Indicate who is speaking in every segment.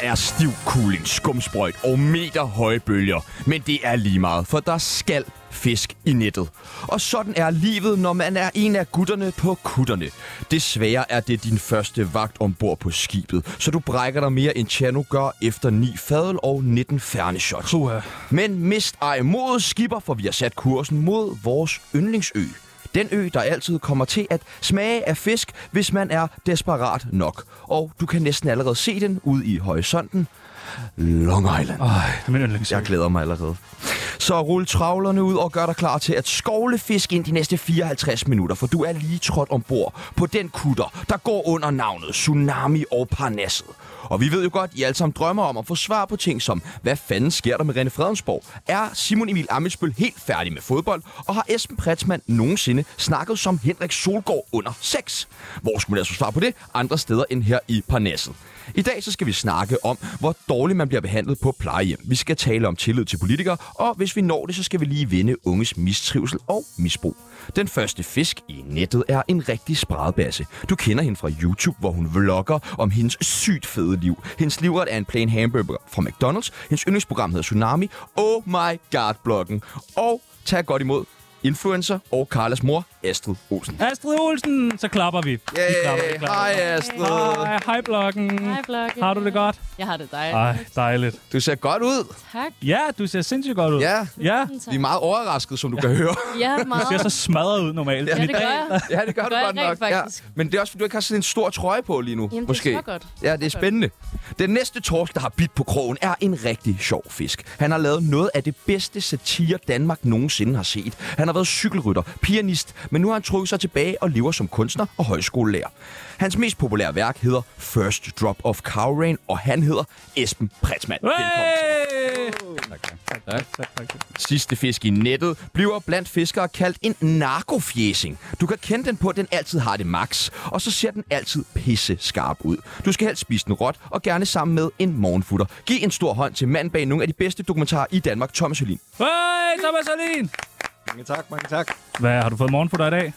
Speaker 1: er stiv kuling, skumsprøjt og meter høje bølger. Men det er lige meget, for der skal fisk i nettet. Og sådan er livet, når man er en af gutterne på kutterne. Desværre er det din første vagt ombord på skibet, så du brækker dig mere end Chano gør efter 9 fadel og 19 færneshots.
Speaker 2: Puha.
Speaker 1: Men mist ej modet, skipper, for vi har sat kursen mod vores yndlingsø. Den ø, der altid kommer til at smage af fisk, hvis man er desperat nok. Og du kan næsten allerede se den ude i horisonten. Long Island.
Speaker 2: Ej, det er min yndlings.
Speaker 1: Jeg glæder mig allerede. Så rul travlerne ud og gør dig klar til at skovle fisk ind de næste 54 minutter, for du er lige trådt ombord på den kutter, der går under navnet Tsunami og Parnasset. Og vi ved jo godt, I alle sammen drømmer om at få svar på ting som, hvad fanden sker der med René Fredensborg? Er Simon Emil Amitsbøl helt færdig med fodbold? Og har Esben Pretzmann nogensinde snakket som Henrik Solgaard under sex? Hvor skulle man altså svare på det? Andre steder end her i Parnasset. I dag så skal vi snakke om, hvor dårligt man bliver behandlet på plejehjem. Vi skal tale om tillid til politikere, og hvis vi når det, så skal vi lige vinde unges mistrivsel og misbrug. Den første fisk i nettet er en rigtig spredbasse. Du kender hende fra YouTube, hvor hun vlogger om hendes sygt fede liv. Hendes livret er en plain hamburger fra McDonald's. Hendes yndlingsprogram hedder Tsunami. Oh my god-bloggen. Og tag godt imod influencer og Karlas mor, Astrid Olsen.
Speaker 2: Astrid Olsen, så klapper vi. vi klapper, vi
Speaker 1: Yay!
Speaker 2: klapper.
Speaker 1: Hej Astrid.
Speaker 2: Hej, hej bloggen.
Speaker 3: Hej, Blokke.
Speaker 2: Har du det godt? Ah.
Speaker 3: Jeg har det dejligt.
Speaker 2: Ej, dejligt.
Speaker 1: Du ser godt ud.
Speaker 3: Tak.
Speaker 2: Ja, du ser sindssygt godt ud.
Speaker 1: Ja.
Speaker 2: Ja,
Speaker 3: Tusind
Speaker 1: Vi er
Speaker 3: tak.
Speaker 1: meget overrasket, som du kan høre.
Speaker 3: Ja,
Speaker 2: du
Speaker 3: meget.
Speaker 2: ser så smadret ud normalt.
Speaker 3: Ja,
Speaker 2: Men i
Speaker 3: det gør
Speaker 2: dag-
Speaker 3: jeg.
Speaker 1: Ja, det gør
Speaker 3: Det
Speaker 1: du
Speaker 3: gør jeg
Speaker 1: godt nok.
Speaker 3: rent
Speaker 1: Ja.
Speaker 3: faktisk.
Speaker 1: Men det er også, fordi du ikke har sådan en stor trøje på lige nu.
Speaker 3: Jamen,
Speaker 1: måske.
Speaker 3: det er så godt.
Speaker 1: Ja, det er
Speaker 3: Så godt.
Speaker 1: spændende. Den næste torsk, der har bidt på krogen, er en rigtig sjov fisk. Han har lavet noget af det bedste satire, Danmark nogensinde har set. Han har været cykelrytter, pianist, men nu har han trukket sig tilbage og lever som kunstner og højskolelærer. Hans mest populære værk hedder First Drop of Cowrain, og han hedder Esben Pretzmann. Velkommen.
Speaker 2: Hey! Tak, tak, tak.
Speaker 1: Sidste fisk i nettet bliver blandt fiskere kaldt en narkofjæsing. Du kan kende den på, at den altid har det max, og så ser den altid pisse skarp ud. Du skal helst spise den råt, og gerne sammen med en morgenfutter. Giv en stor hånd til manden bag nogle af de bedste dokumentarer i Danmark, Thomas Hølin.
Speaker 2: Hey, Thomas Alin!
Speaker 4: Mange tak, mange tak.
Speaker 2: Hvad, har du fået morgenfutter i dag?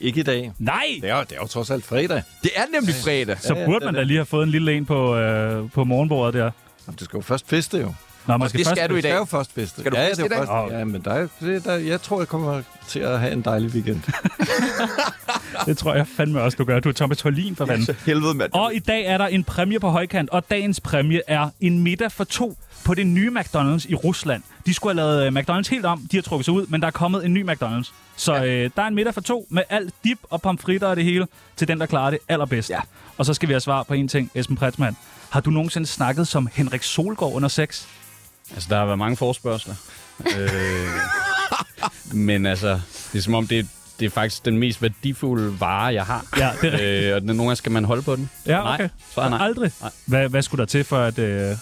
Speaker 4: Ikke i dag.
Speaker 2: Nej!
Speaker 4: Det er, jo- det er jo trods alt fredag.
Speaker 1: Det er nemlig fredag.
Speaker 2: Så burde man da lige have fået en lille en på, øh, på morgenbordet der.
Speaker 4: Jamen, du skal jo først feste, jo.
Speaker 2: Nå, man
Speaker 1: Og det skal du i
Speaker 4: Du skal
Speaker 1: dag.
Speaker 4: jo først feste.
Speaker 1: Skal du
Speaker 4: ja, ja,
Speaker 1: feste
Speaker 4: det er
Speaker 1: i dag?
Speaker 4: jo Først, ja, men der, er- det, der, jeg tror, jeg kommer til at have en dejlig weekend.
Speaker 2: Det tror jeg fandme også, du gør. Du er Thomas Holin for fanden.
Speaker 1: Så helvede, mand.
Speaker 2: Og i dag er der en præmie på højkant, og dagens præmie er en middag for to på det nye McDonald's i Rusland. De skulle have lavet øh, McDonald's helt om, de har trukket sig ud, men der er kommet en ny McDonald's. Så øh, der er en middag for to med alt dip og pomfritter og det hele til den, der klarer det allerbedst.
Speaker 1: Ja.
Speaker 2: Og så skal vi have svar på en ting, Esben Pretzmann. Har du nogensinde snakket som Henrik Solgaard under sex?
Speaker 5: Altså, der har været mange forspørgseler. øh, men altså, det er som om, det er, det er faktisk den mest værdifulde vare, jeg har.
Speaker 2: Ja, det er rigtigt.
Speaker 5: Øh, og den- nogle gange skal man holde på den.
Speaker 2: Ja, okay.
Speaker 5: Nej, svaret er nej.
Speaker 2: Aldrig.
Speaker 5: Nej.
Speaker 2: Hvad, hvad skulle der til for, at øh,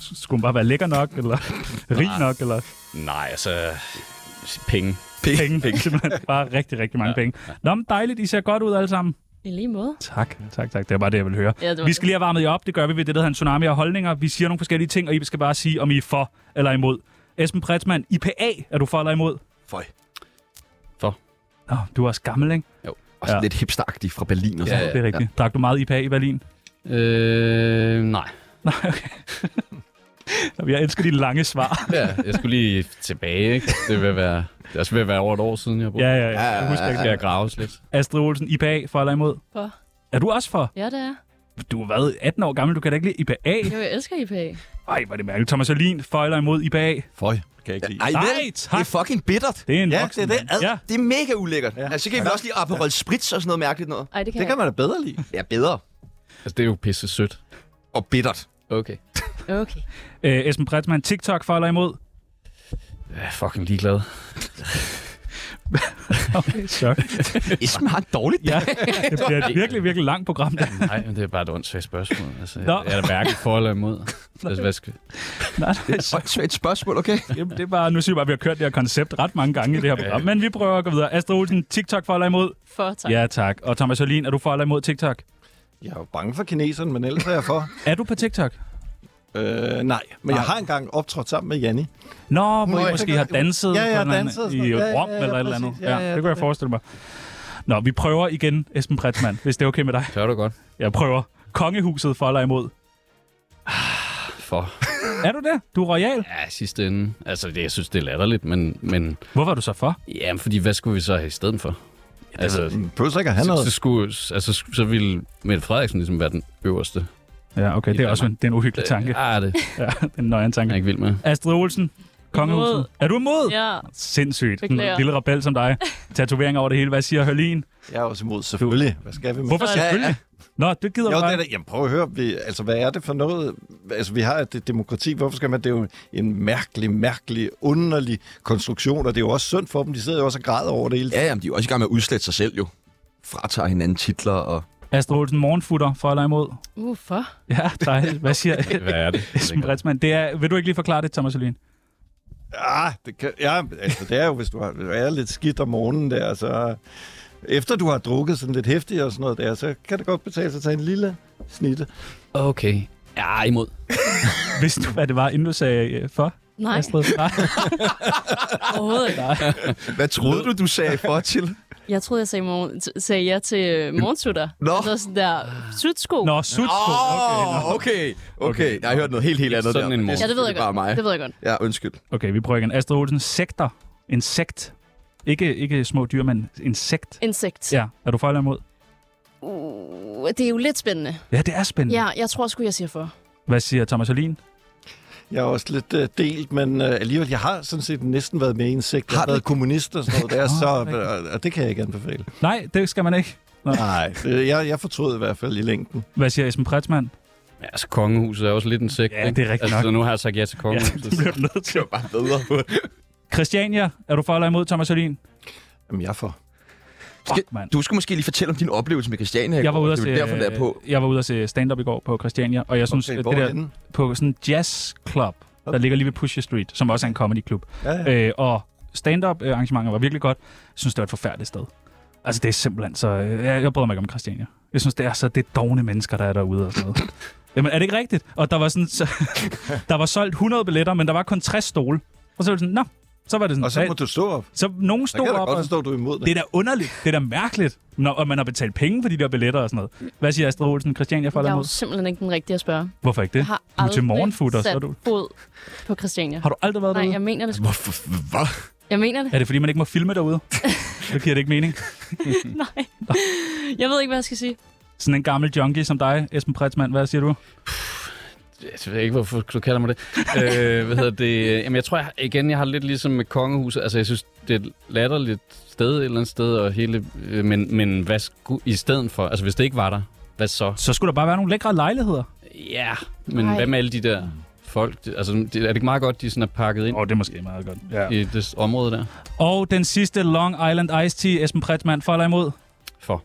Speaker 2: s- skulle den bare være lækker nok, eller rig nok, eller
Speaker 5: Nej, altså, penge.
Speaker 2: penge? penge. Simpelthen bare rigtig, rigtig mange ja. penge. Nå, men dejligt. I ser godt ud alle sammen.
Speaker 3: I lige måde.
Speaker 2: Tak, tak, tak. Det var bare det, jeg ville høre.
Speaker 3: Ja, det var
Speaker 2: vi
Speaker 3: det.
Speaker 2: skal lige have varmet jer op. Det gør vi ved det, der hedder en tsunami af holdninger. Vi siger nogle forskellige ting, og I skal bare sige, om I er for eller imod. Esben Pretzmann, IPA, er du for eller imod?
Speaker 1: Føj.
Speaker 2: Nå, du er også gammel, ikke?
Speaker 1: Og sådan
Speaker 2: Ja.
Speaker 1: lidt hipsteragtig fra Berlin og sådan
Speaker 5: Ja,
Speaker 1: noget.
Speaker 2: Det er rigtigt. Ja. Drak du meget IPA i Berlin?
Speaker 5: Øh, nej.
Speaker 2: Nå, Jeg elsker de lange svar.
Speaker 5: Ja, jeg skulle lige tilbage, ikke? Det vil være, det er også ved at være over et år siden, jeg boede.
Speaker 2: ja, ja, ja.
Speaker 1: ja,
Speaker 2: Jeg
Speaker 1: ja,
Speaker 2: husker
Speaker 5: Det
Speaker 2: ikke
Speaker 5: skal
Speaker 2: det.
Speaker 5: jeg graves lidt.
Speaker 2: Astrid Olsen, IPA, for eller imod?
Speaker 3: For.
Speaker 2: Er du også for?
Speaker 3: Ja, det er.
Speaker 2: Du har været 18 år gammel, du kan da ikke lide IPA.
Speaker 3: Jo, jeg elsker IPA.
Speaker 2: Ej, hvor er det mærkeligt. Thomas Alin, for eller imod IPA?
Speaker 4: Føj, kan jeg ikke lide.
Speaker 1: Ej,
Speaker 2: Nej,
Speaker 1: vel, det
Speaker 2: tak.
Speaker 1: er fucking bittert.
Speaker 2: Det er en
Speaker 4: Ja,
Speaker 2: voksen.
Speaker 4: det er det.
Speaker 2: mand. Ja,
Speaker 1: Det er mega ulækkert. Ja. Altså, så kan vi også lige Aperol Spritz og sådan noget mærkeligt noget.
Speaker 3: Ej, det kan
Speaker 4: Det kan man da bedre lide.
Speaker 1: Ja, bedre.
Speaker 5: Altså, det er jo pisse sødt.
Speaker 1: Og bittert.
Speaker 5: Okay.
Speaker 3: jeg. Okay.
Speaker 2: Øh, Esben Pretzmann, TikTok for eller imod?
Speaker 5: Jeg er fucking ligeglad.
Speaker 2: Okay, sorry.
Speaker 1: Esben har en dårlig dag.
Speaker 2: Ja, det bliver et virkelig, virkelig langt program. Der.
Speaker 5: Nej, men det er bare et åndssvagt spørgsmål. Altså,
Speaker 2: Nå.
Speaker 5: jeg, jeg er da hverken for eller imod. Altså, hvad skal...
Speaker 2: Nej,
Speaker 1: Det er et åndssvagt spørgsmål, okay?
Speaker 2: Jamen, det er bare, nu siger jeg bare, at vi har kørt det her koncept ret mange gange i det her program. Men vi prøver at gå videre. Astrid Olsen, TikTok for eller imod?
Speaker 3: For, tak.
Speaker 2: Ja, tak. Og Thomas Hølin, er du for eller imod TikTok?
Speaker 4: Jeg er jo bange for kineserne, men ellers er jeg for.
Speaker 2: Er du på TikTok?
Speaker 4: Øh, nej, men jeg har engang optrådt sammen med Janni.
Speaker 2: Nå, hvor
Speaker 4: Nå,
Speaker 2: I
Speaker 4: ja,
Speaker 2: måske
Speaker 4: det
Speaker 2: har
Speaker 4: kan-
Speaker 2: danset
Speaker 4: Ja, ja,
Speaker 2: på en eller anden-
Speaker 4: danset og sådan
Speaker 2: i
Speaker 4: noget. Ja, ja,
Speaker 2: Rom
Speaker 4: ja,
Speaker 2: eller et eller andet.
Speaker 4: præcis.
Speaker 2: Ja,
Speaker 4: Ja, ja,
Speaker 2: det
Speaker 4: det
Speaker 2: kunne jeg
Speaker 4: der.
Speaker 2: forestille mig. Nå, vi prøver igen, Esben Pretzmann, hvis det er okay med dig.
Speaker 5: Tør du godt?
Speaker 2: Jeg prøver. Kongehuset for eller imod?
Speaker 5: for.
Speaker 2: Er du det? Du er royal.
Speaker 5: Ja, i sidste ende. Altså, det, jeg synes, det er latterligt, men, men
Speaker 2: Hvorfor er du så for?
Speaker 5: jamen, fordi hvad skulle vi så have i stedet for? Altså,
Speaker 4: Pludselig mm, ikke at have
Speaker 5: så,
Speaker 4: noget.
Speaker 5: så, skulle, altså, så ville Mette Frederiksen ligesom være den øverste.
Speaker 2: Ja, okay. Det er også en, det er en uhyggelig tanke.
Speaker 5: Ah, det
Speaker 2: Ja, det er en nøjeren
Speaker 5: er jeg
Speaker 2: tanke.
Speaker 5: ikke vild med.
Speaker 2: Astrid Olsen, kongehuset.
Speaker 3: Imod.
Speaker 2: Er du imod?
Speaker 3: Ja,
Speaker 2: Sindssygt. En
Speaker 3: Beklager.
Speaker 2: lille rebel som dig. Tatoveringer over det hele. Hvad siger Hørlin?
Speaker 4: Jeg er også imod, selvfølgelig. Hvad skal vi med?
Speaker 2: Hvorfor
Speaker 4: Ja,
Speaker 2: selvfølgelig? Nå, det gider du
Speaker 4: Ja, jo, det er
Speaker 2: bare.
Speaker 4: det. Jamen, prøv at høre. Vi, altså, hvad er det for noget? Altså, vi har et demokrati. Hvorfor skal man? Det er jo en mærkelig, mærkelig, underlig konstruktion, og det er jo også synd for dem. De sidder jo også og græder over det hele.
Speaker 1: Ja, jamen, de er jo også i gang med at udslette sig selv jo. Fratager hinanden titler og...
Speaker 2: Astrid Olsen, morgenfutter for eller imod?
Speaker 3: hvorfor?
Speaker 2: Ja, dig. Hvad siger
Speaker 5: Hvad er det?
Speaker 2: Esben Bretsmann? Det er, vil du ikke lige forklare det, Thomas Hørlin?
Speaker 4: Ja, Ah, det, kan, ja altså, det er jo, hvis du har, hvis du er lidt skidt om morgenen der, så efter du har drukket sådan lidt hæftigt og sådan noget der, så kan det godt betale sig at tage en lille snitte.
Speaker 5: Okay. Ja, imod.
Speaker 2: Vidste du, hvad det var, inden du sagde øh, for?
Speaker 3: Nej,
Speaker 2: Astrid? Nej.
Speaker 3: overhovedet ikke.
Speaker 1: Hvad troede du, du sagde for til?
Speaker 3: Jeg troede, jeg sagde, morgen, t- sagde ja til øh, morgensutter.
Speaker 1: Nå.
Speaker 3: Altså sådan der sutsko.
Speaker 2: Nå, sutsko.
Speaker 1: Åh, oh, okay, okay. Jeg har hørt noget helt, helt andet
Speaker 5: Sådan
Speaker 1: der.
Speaker 5: en
Speaker 1: men
Speaker 5: mor.
Speaker 1: er
Speaker 3: Ja, det ved jeg
Speaker 1: selvfølgelig
Speaker 3: godt.
Speaker 1: bare mig.
Speaker 3: Det ved jeg godt.
Speaker 1: Ja, undskyld.
Speaker 2: Okay, vi prøver igen. Astrid Olsen, sekter. Insekt. Ikke, ikke små dyr, men insekt.
Speaker 3: Insekt.
Speaker 2: Ja, er du for eller imod?
Speaker 3: Uh, det er jo lidt spændende.
Speaker 2: Ja, det er spændende.
Speaker 3: Ja, jeg tror sgu, jeg siger for.
Speaker 2: Hvad siger Thomas Hørlin?
Speaker 4: Jeg er også lidt uh, delt, men uh, alligevel, jeg har sådan set næsten været med i en sekt. Jeg
Speaker 1: Har
Speaker 4: har
Speaker 1: du?
Speaker 4: været kommunist og sådan noget der,
Speaker 2: Nå,
Speaker 4: så, øh,
Speaker 2: rigtigt.
Speaker 4: og, og det kan jeg ikke anbefale.
Speaker 2: Nej, det skal man ikke.
Speaker 4: Nej, det- jeg, jeg fortrød i hvert fald i længden.
Speaker 2: Hvad siger Esben Pretzmann?
Speaker 5: Ja, altså, kongehuset er også lidt en sekt.
Speaker 2: Ja,
Speaker 5: ikke?
Speaker 2: det er rigtigt
Speaker 5: altså,
Speaker 2: nok.
Speaker 5: så nu har jeg sagt ja til
Speaker 2: Ja,
Speaker 5: kongehuset.
Speaker 2: det bliver du nødt til.
Speaker 1: Bare bedre på.
Speaker 2: Christiania, er du for eller imod Thomas Hørlin?
Speaker 4: Jamen, jeg får.
Speaker 2: Fuck, mand.
Speaker 1: Du skulle måske lige fortælle om din oplevelse med Christiania. i
Speaker 2: Jeg var
Speaker 1: går.
Speaker 2: ude at
Speaker 1: Det
Speaker 2: se, øh,
Speaker 1: er derfor, der er på.
Speaker 2: jeg var ude at se stand-up i går på Christiania, og jeg synes,
Speaker 4: Okay,
Speaker 2: at
Speaker 4: hvor
Speaker 2: det der
Speaker 4: henne?
Speaker 2: på sådan en jazzclub, der
Speaker 4: Okay.
Speaker 2: ligger lige ved Pusher Street, som også er en comedyklub.
Speaker 4: Ja, ja.
Speaker 2: Øh, og stand-up øh, arrangementer var virkelig godt. Jeg synes, det var et forfærdeligt sted. Altså, det er simpelthen så... Øh, jeg, jeg bryder mig ikke om Christiania. Jeg synes, det er så det er dogne mennesker, der er derude og sådan noget. Jamen, er det ikke rigtigt? Og der var sådan... Så, der var solgt 100 billetter, men der var kun 60 stole. Og så var det sådan, nå, så var det sådan...
Speaker 4: Og så må
Speaker 2: "Hey."
Speaker 4: du stå op.
Speaker 2: så nogen
Speaker 4: Så kan
Speaker 2: stod
Speaker 4: jeg da
Speaker 2: op
Speaker 4: godt
Speaker 2: og...
Speaker 4: forstå, at du er imod det.
Speaker 2: Det er da underligt. Det er da mærkeligt, når og man har betalt penge for de der billetter og sådan noget. Hvad siger Astrid Olsen? Christiania for
Speaker 3: Jeg
Speaker 2: eller
Speaker 3: er jo
Speaker 2: imod?
Speaker 3: simpelthen ikke den rigtige at spørge.
Speaker 2: Hvorfor ikke det?
Speaker 3: Jeg har
Speaker 2: Du er
Speaker 3: aldrig
Speaker 2: til morgenfutter, så
Speaker 3: sat
Speaker 2: er du...
Speaker 3: fod på Christiania.
Speaker 2: Har du aldrig været
Speaker 3: Nej,
Speaker 2: derude?
Speaker 3: jeg mener det sgu.
Speaker 1: Hvorfor? Hvad?
Speaker 3: Jeg mener det.
Speaker 2: Er det, fordi man ikke må filme derude? Det giver det ikke mening.
Speaker 3: Nej. Jeg ved ikke, hvad jeg skal sige.
Speaker 2: Sådan en gammel junkie som dig, Esben Pretzmann, hvad siger du?
Speaker 5: Altså, Jeg ved ikke, hvorfor du kalder mig det. øh, hvad hedder det? Jamen, jeg tror jeg, igen, jeg har lidt ligesom med kongehuset. Altså, jeg synes, det er et latterligt sted et eller andet sted, og hele, øh, men, men hvad sku, i stedet for? Altså, hvis det ikke var der, hvad så?
Speaker 2: Så skulle der bare være nogle lækre lejligheder.
Speaker 5: Ja, men
Speaker 3: Ej.
Speaker 5: Ej. hvad med alle de der folk? Det, altså, det, er det ikke meget godt, de sådan er pakket ind
Speaker 2: Åh, oh, det er måske meget godt. Ja.
Speaker 5: i det område der?
Speaker 2: Og den sidste Long Island Ice Tea, Esben Pretzmann, for eller imod?
Speaker 5: For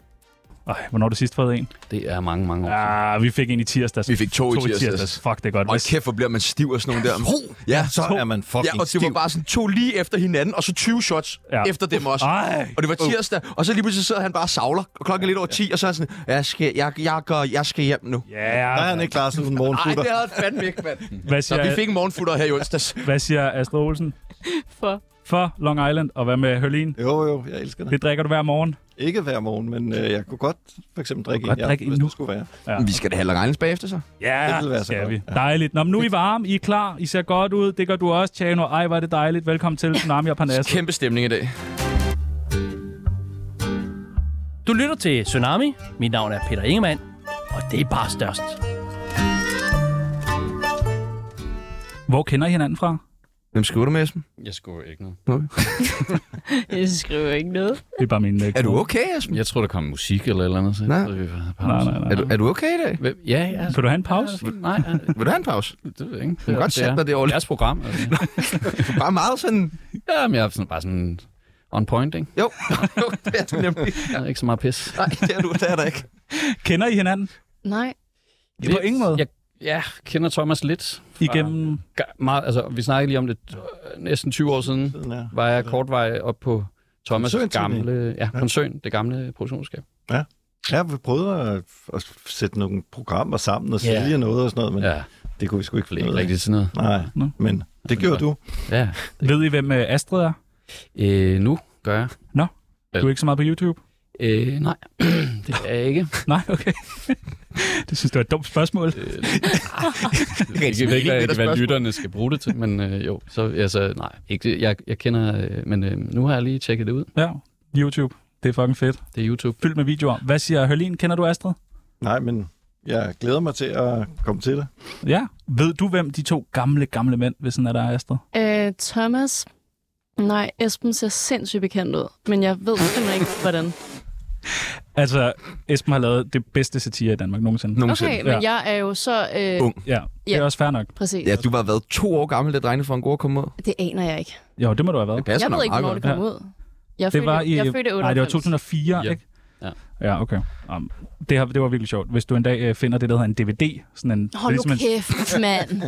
Speaker 2: Ej, hvornår har du sidst fået en?
Speaker 5: det er mange, mange år. Ja.
Speaker 2: Ja, vi fik en i tirsdags.
Speaker 1: Vi fik to i tirsdags.
Speaker 2: Fuck, det er godt.
Speaker 1: Og
Speaker 2: Hvis-
Speaker 1: kæft, hvor bliver man stiv og sådan nogle der. Ja,
Speaker 4: Så er man
Speaker 1: ja,
Speaker 4: fucking
Speaker 1: og det var
Speaker 4: stiv.
Speaker 1: bare sådan to lige efter hinanden, og så 20 shots
Speaker 2: Ja.
Speaker 1: ja. efter dem også.
Speaker 2: Ej,
Speaker 1: Og det var tirsdag, og så lige pludselig sidder han bare og savler, og klokken er lidt over 10, og så er han sådan, jeg skal, jeg, jeg, går, jeg skal hjem nu.
Speaker 2: ja.
Speaker 4: Der er han ikke klar sådan en
Speaker 1: Nej,
Speaker 4: morgenfutter.
Speaker 1: det havde fandme ikke, mand.
Speaker 2: Hvad
Speaker 1: Så vi
Speaker 2: siger,
Speaker 1: fik en morgenfutter her i onsdags.
Speaker 2: hvad siger Astrid Olsen?
Speaker 3: For
Speaker 2: For Long Island, og hvad med Hørlin?
Speaker 4: Jo, jo, jeg elsker det.
Speaker 2: Det drikker du hver morgen.
Speaker 4: Ikke hver morgen, men øh, jeg kunne godt for eksempel drikke
Speaker 2: godt
Speaker 4: en, i aften,
Speaker 2: drikke en
Speaker 4: hvis
Speaker 2: nu.
Speaker 4: det skulle være.
Speaker 1: Vi skal da have Long Islands bagefter, så.
Speaker 2: Ja,
Speaker 4: Det ville være så
Speaker 2: skal
Speaker 4: godt.
Speaker 2: vi. Dejligt. Nå, men nu er I varme, I er klar, I ser godt ud. Det gør du også, Tjano. Ej, var det dejligt. Velkommen til Tsunami og Parnasset.
Speaker 1: Kæmpe stemning i dag.
Speaker 6: Du lytter til Tsunami. Mit navn er Peter Ingemann, og det er bare størst.
Speaker 2: Hvor kender I hinanden fra?
Speaker 1: Hvem skriver du med, Esben?
Speaker 5: Jeg skulle ikke noget.
Speaker 3: jeg skriver ikke noget.
Speaker 2: Det er bare min... øh,
Speaker 1: Er du okay, Esben?
Speaker 5: Jeg tror, der kom musik eller et eller andet. Så
Speaker 1: Nej.
Speaker 5: Så vi var
Speaker 2: Nej, nej, nej.
Speaker 1: Er du, er du okay i dag?
Speaker 5: Hvem? Ja, ja.
Speaker 2: Kan du have en pause?
Speaker 5: Nej, ja,
Speaker 1: Vil du have en pause?
Speaker 5: det ved jeg ikke. Du
Speaker 1: kan godt sætte dig derovre.
Speaker 5: Det er jeres program. Altså.
Speaker 1: Bare meget sådan...
Speaker 5: ja, men jeg er sådan, bare sådan on point, ikke?
Speaker 1: Jo, jo det er du nemlig.
Speaker 5: Jeg er ikke så meget pis.
Speaker 1: Nej, det er du, det er der ikke.
Speaker 2: Kender I hinanden?
Speaker 3: Nej.
Speaker 2: På ingen måde.
Speaker 5: Jeg, jeg kender Thomas lidt.
Speaker 2: Igennem...
Speaker 5: Ga- Meget, altså, vi snakkede lige om det øh, næsten 20 år siden,
Speaker 4: Sådan her.
Speaker 5: var jeg kort vej op på Thomas'
Speaker 4: Koncern-TV.
Speaker 5: gamle... Ja, koncern, det gamle produktionsselskab.
Speaker 4: Ja, vi prøvede at, at sætte nogle programmer sammen og
Speaker 5: Ja.
Speaker 4: sælge noget og sådan noget, men ja.
Speaker 5: Ja,
Speaker 4: det kunne vi sgu ikke
Speaker 5: det
Speaker 4: finde
Speaker 5: er
Speaker 4: ud
Speaker 5: ikke
Speaker 4: af.
Speaker 5: rigtigt sådan noget.
Speaker 4: Nej,
Speaker 2: Nå.
Speaker 4: men det gjorde du.
Speaker 5: Ja.
Speaker 2: Ved I, hvem øh, Astrid er?
Speaker 5: Øh, nu gør jeg.
Speaker 2: Du er ikke så meget på YouTube?
Speaker 5: Øh, nej, det er jeg ikke.
Speaker 2: Nej, okay. Det synes du er et dumt spørgsmål.
Speaker 5: Jeg ved ikke,
Speaker 1: det er
Speaker 5: hvad,
Speaker 1: der
Speaker 5: hvad
Speaker 1: spørgsmål.
Speaker 5: lytterne skal bruge det til, men øh, jo, så altså, nej, ikke, jeg, jeg kender, øh, men øh, nu har jeg lige tjekket det ud.
Speaker 2: Ja, YouTube. Det er fucking fedt.
Speaker 5: Det er YouTube.
Speaker 2: Fyldt med videoer. Hvad siger Hørlin? Kender du Astrid?
Speaker 4: Nej, men jeg glæder mig til at komme til det.
Speaker 2: Ja. Ved du, hvem de to gamle, gamle mænd, hvis sådan er der er Astrid?
Speaker 3: Øh, Thomas? Nej, Esben ser sindssygt bekendt ud, men jeg ved simpelthen ikke, hvordan.
Speaker 2: Altså, Esben har lavet det bedste satire i Danmark nogensinde.
Speaker 5: Nogensinde.
Speaker 3: Okay, men jeg er jo så... Øh,
Speaker 1: Ung.
Speaker 2: Ja, det er
Speaker 3: Ja.
Speaker 2: også fair nok.
Speaker 3: Præcis.
Speaker 1: Ja, du var været to år gammel, da drengene fra Angora kom ud.
Speaker 3: Det aner jeg ikke.
Speaker 2: Jo, det må du have været.
Speaker 1: Det passer
Speaker 3: Jeg ved
Speaker 1: nok
Speaker 3: ikke,
Speaker 1: meget
Speaker 3: hvornår det
Speaker 1: godt.
Speaker 2: godt.
Speaker 3: kom ud. Jeg
Speaker 2: Det
Speaker 3: følte,
Speaker 2: var i- øh,
Speaker 3: jeg følte
Speaker 2: Nej, det var
Speaker 3: 98.
Speaker 2: 2004,
Speaker 5: Ja.
Speaker 2: ikke?
Speaker 5: Ja.
Speaker 2: Ja, okay. Um, det, har, det var virkelig sjovt. Hvis du en dag øh, finder det, der hedder en DVD, sådan en...
Speaker 3: Hold
Speaker 2: ligesom
Speaker 3: nu
Speaker 2: en-
Speaker 3: kæft, mand.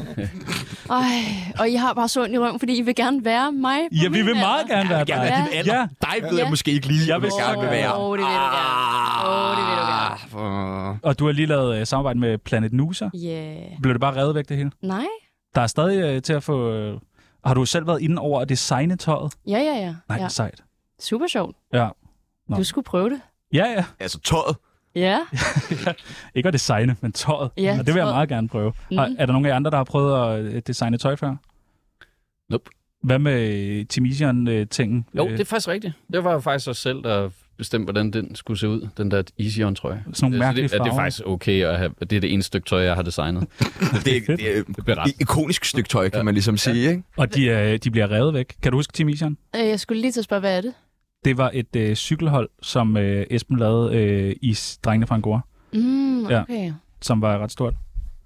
Speaker 3: Ej, og I har bare så ondt i røven, fordi I vil gerne være mig. på
Speaker 2: Ja, vi
Speaker 3: min
Speaker 2: vil meget
Speaker 3: alder.
Speaker 2: gerne være
Speaker 1: gerne
Speaker 2: dig.
Speaker 3: være
Speaker 1: din alder.
Speaker 2: Ja,
Speaker 1: Dig ved jeg
Speaker 3: Ja.
Speaker 1: måske ikke lige,
Speaker 2: Jeg
Speaker 1: jeg vil
Speaker 2: vil-
Speaker 1: gerne vil være.
Speaker 3: Åh, det vil du gerne. Åh, det vil du gerne.
Speaker 1: Ah, for-
Speaker 2: og du har lige lavet øh, samarbejde med Planet Nusa.
Speaker 3: Yeah.
Speaker 2: Blev det bare revet væk, det hele?
Speaker 3: Nej?
Speaker 2: Der er stadig øh, til at få... Øh, har du selv været inde over at designe tøjet?
Speaker 3: Ja, ja, ja.
Speaker 2: Nej,
Speaker 3: ja.
Speaker 2: ja. sejt.
Speaker 3: Super sjovt.
Speaker 2: Ja. Nå.
Speaker 3: Du skulle prøve det.
Speaker 2: Ja, ja.
Speaker 1: Altså tøjet.
Speaker 3: Ja.
Speaker 2: Ikke at designe, men tøjet.
Speaker 3: Ja,
Speaker 2: og det vil jeg
Speaker 3: tøjet.
Speaker 2: meget gerne prøve. Mm.
Speaker 3: Mhm.
Speaker 2: Har, er der nogen af jer andre, der har prøvet at øh, designe tøj før?
Speaker 5: Nope.
Speaker 2: Hvad med øh, Timisian-tingen?
Speaker 5: Jo, det er faktisk rigtigt. Det var jo faktisk os selv, der bestemte, hvordan den skulle se ud, den der Easy On, tror jeg.
Speaker 2: Sådan nogle mærkelige
Speaker 5: det, ja, det er
Speaker 2: farver.
Speaker 5: faktisk okay at have. Det er det ene stykke tøj, jeg har designet.
Speaker 1: Det er, det er
Speaker 5: Det bliver ret.
Speaker 1: et ikonisk stykke tøj, kan man ligesom sige, ikke?
Speaker 2: Og de, øh, de bliver revet væk. Kan du huske Timisian?
Speaker 3: Øh, Jeg skulle lige til at spørge, hvad er det?
Speaker 2: Det var et øh, cykelhold, som øh, Esben lavede øh, i Drengene fra Angora,
Speaker 3: Mm,
Speaker 2: Ja.
Speaker 3: okay.
Speaker 2: som var ret stort.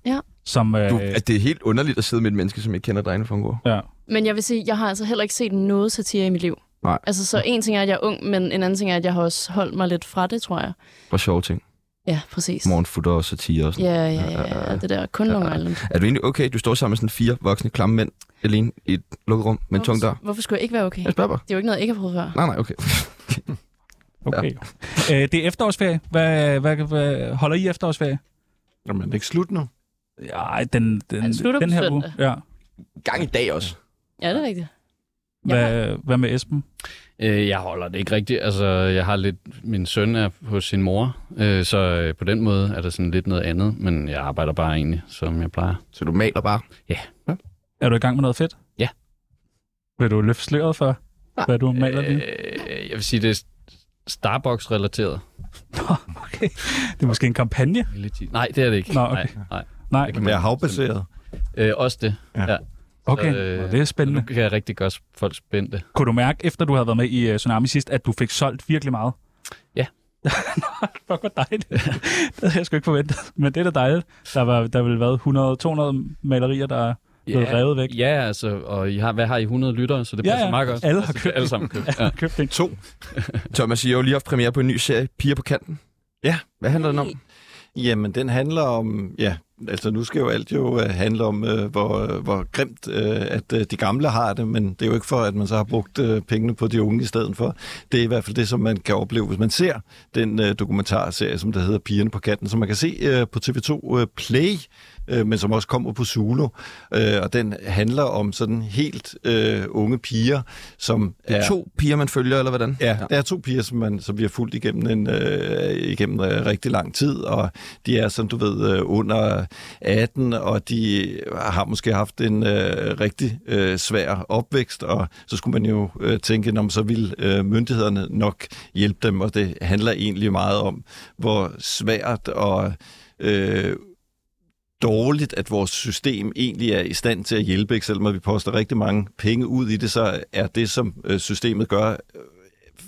Speaker 3: Ja.
Speaker 2: Som, øh,
Speaker 1: Du,
Speaker 2: du,
Speaker 1: at det er helt underligt at sidde med et menneske, som ikke kender drengene fra Angora.
Speaker 2: ja.
Speaker 3: Men jeg vil sige, jeg har altså heller ikke set noget satire i mit liv.
Speaker 1: Nej.
Speaker 3: Altså, så en ting er, at jeg er ung, men en anden ting er, at jeg har også holdt mig lidt fra det, tror jeg.
Speaker 1: Hvor sjove ting.
Speaker 3: Ja, præcis.
Speaker 1: Morgenfutter og satire og sådan.
Speaker 3: Ja, ja, ja, ja. Det der kun Long Island.
Speaker 1: Er du egentlig okay, du står sammen med sådan fire voksne klamme mænd alene i et lukket rum med en tung dør?
Speaker 3: Hvorfor, hvorfor skulle jeg ikke være okay?
Speaker 1: Jeg spørger bare.
Speaker 3: Det er jo ikke noget, jeg ikke har prøvet før.
Speaker 1: Nej, nej, okay.
Speaker 2: Okay. Ja. Øh, det er efterårsferie. Hvad, hvad, hvad, holder I efterårsferie?
Speaker 4: Jamen, det er ikke slut nu.
Speaker 2: Ja, den, den,
Speaker 3: Den slutter på
Speaker 2: den her
Speaker 3: søndag.
Speaker 2: uge. Ja.
Speaker 1: Gang i dag også.
Speaker 3: Ja, det er rigtigt.
Speaker 2: Hvad, hvad med Esben?
Speaker 5: Øh, jeg holder det ikke rigtigt. Altså, jeg har lidt... Min søn er hos sin mor, øh, så øh, på den måde er der sådan lidt noget andet. Men jeg arbejder bare egentlig, som jeg plejer.
Speaker 1: Så du maler bare.
Speaker 2: Er du i gang med noget fedt?
Speaker 5: Ja.
Speaker 2: Vil du løfte sløret for, hvad du maler lige?
Speaker 5: Øh, jeg vil sige, det er Starbucks-relateret.
Speaker 2: Nå, okay. Det er måske en kampagne?
Speaker 5: Nej, det er det ikke.
Speaker 2: Nå, okay.
Speaker 5: Nej, nej.
Speaker 2: Nej,
Speaker 4: Men jeg er havbaseret.
Speaker 5: Øh, også det.
Speaker 2: okay.
Speaker 5: Så, øh,
Speaker 2: Nå, det er
Speaker 5: Men nu
Speaker 2: spændende.
Speaker 5: kan jeg rigtig godt s- folk spændte.
Speaker 2: Kunne du mærke, efter du havde været med i uh, Tsunami sidst, at du fik solgt virkelig meget?
Speaker 5: Ja.
Speaker 2: Fuck, hvor dejligt. det havde jeg sgu ikke forventet. Men det er da dejligt. Der, var, der ville været 100-200 malerier, der er blevet
Speaker 5: Ja.
Speaker 2: revet væk.
Speaker 5: Ja, altså, og I har, hvad har I 100 lyttere, så det
Speaker 2: Ja,
Speaker 5: passer
Speaker 2: ja.
Speaker 5: meget godt.
Speaker 2: Alle har
Speaker 5: altså, det er
Speaker 2: købt
Speaker 5: Alle
Speaker 2: det.
Speaker 5: sammen købt. Ja.
Speaker 2: Køb det.
Speaker 1: To. Thomas, I har jo lige haft premiere på en ny serie, Piger på kanten.
Speaker 4: Ja.
Speaker 1: Hvad handler den om?
Speaker 4: Jamen, den handler om... Ja, altså nu skal jo alt jo øh, handle om, øh, hvor, øh, hvor grimt øh, at øh, de gamle har det, men det er jo ikke for, at man så har brugt øh, pengene på de unge i stedet for. Det er i hvert fald det, som man kan opleve, hvis man ser den øh, dokumentarserie, som der hedder Pigerne på katten, som man kan se øh, på TV2 øh, Play, øh, men som også kommer på Zulu. Øh, og den handler om sådan helt øh, unge piger, som
Speaker 1: Det er to piger, man følger, eller hvordan?
Speaker 4: Ja, der er to piger, som, man, som vi har fulgt igennem, en, øh, igennem øh, rigtig lang tid, og de er, som du ved, øh, under 18, og de har måske haft en øh, rigtig øh, svær opvækst, og så skulle man jo øh, tænke, om så ville øh, myndighederne nok hjælpe dem, og det handler egentlig meget om, hvor svært og... Øh, dårligt, at vores system egentlig er i stand til at hjælpe, ikke? selvom at vi poster rigtig mange penge ud i det, så er det, som øh, systemet gør,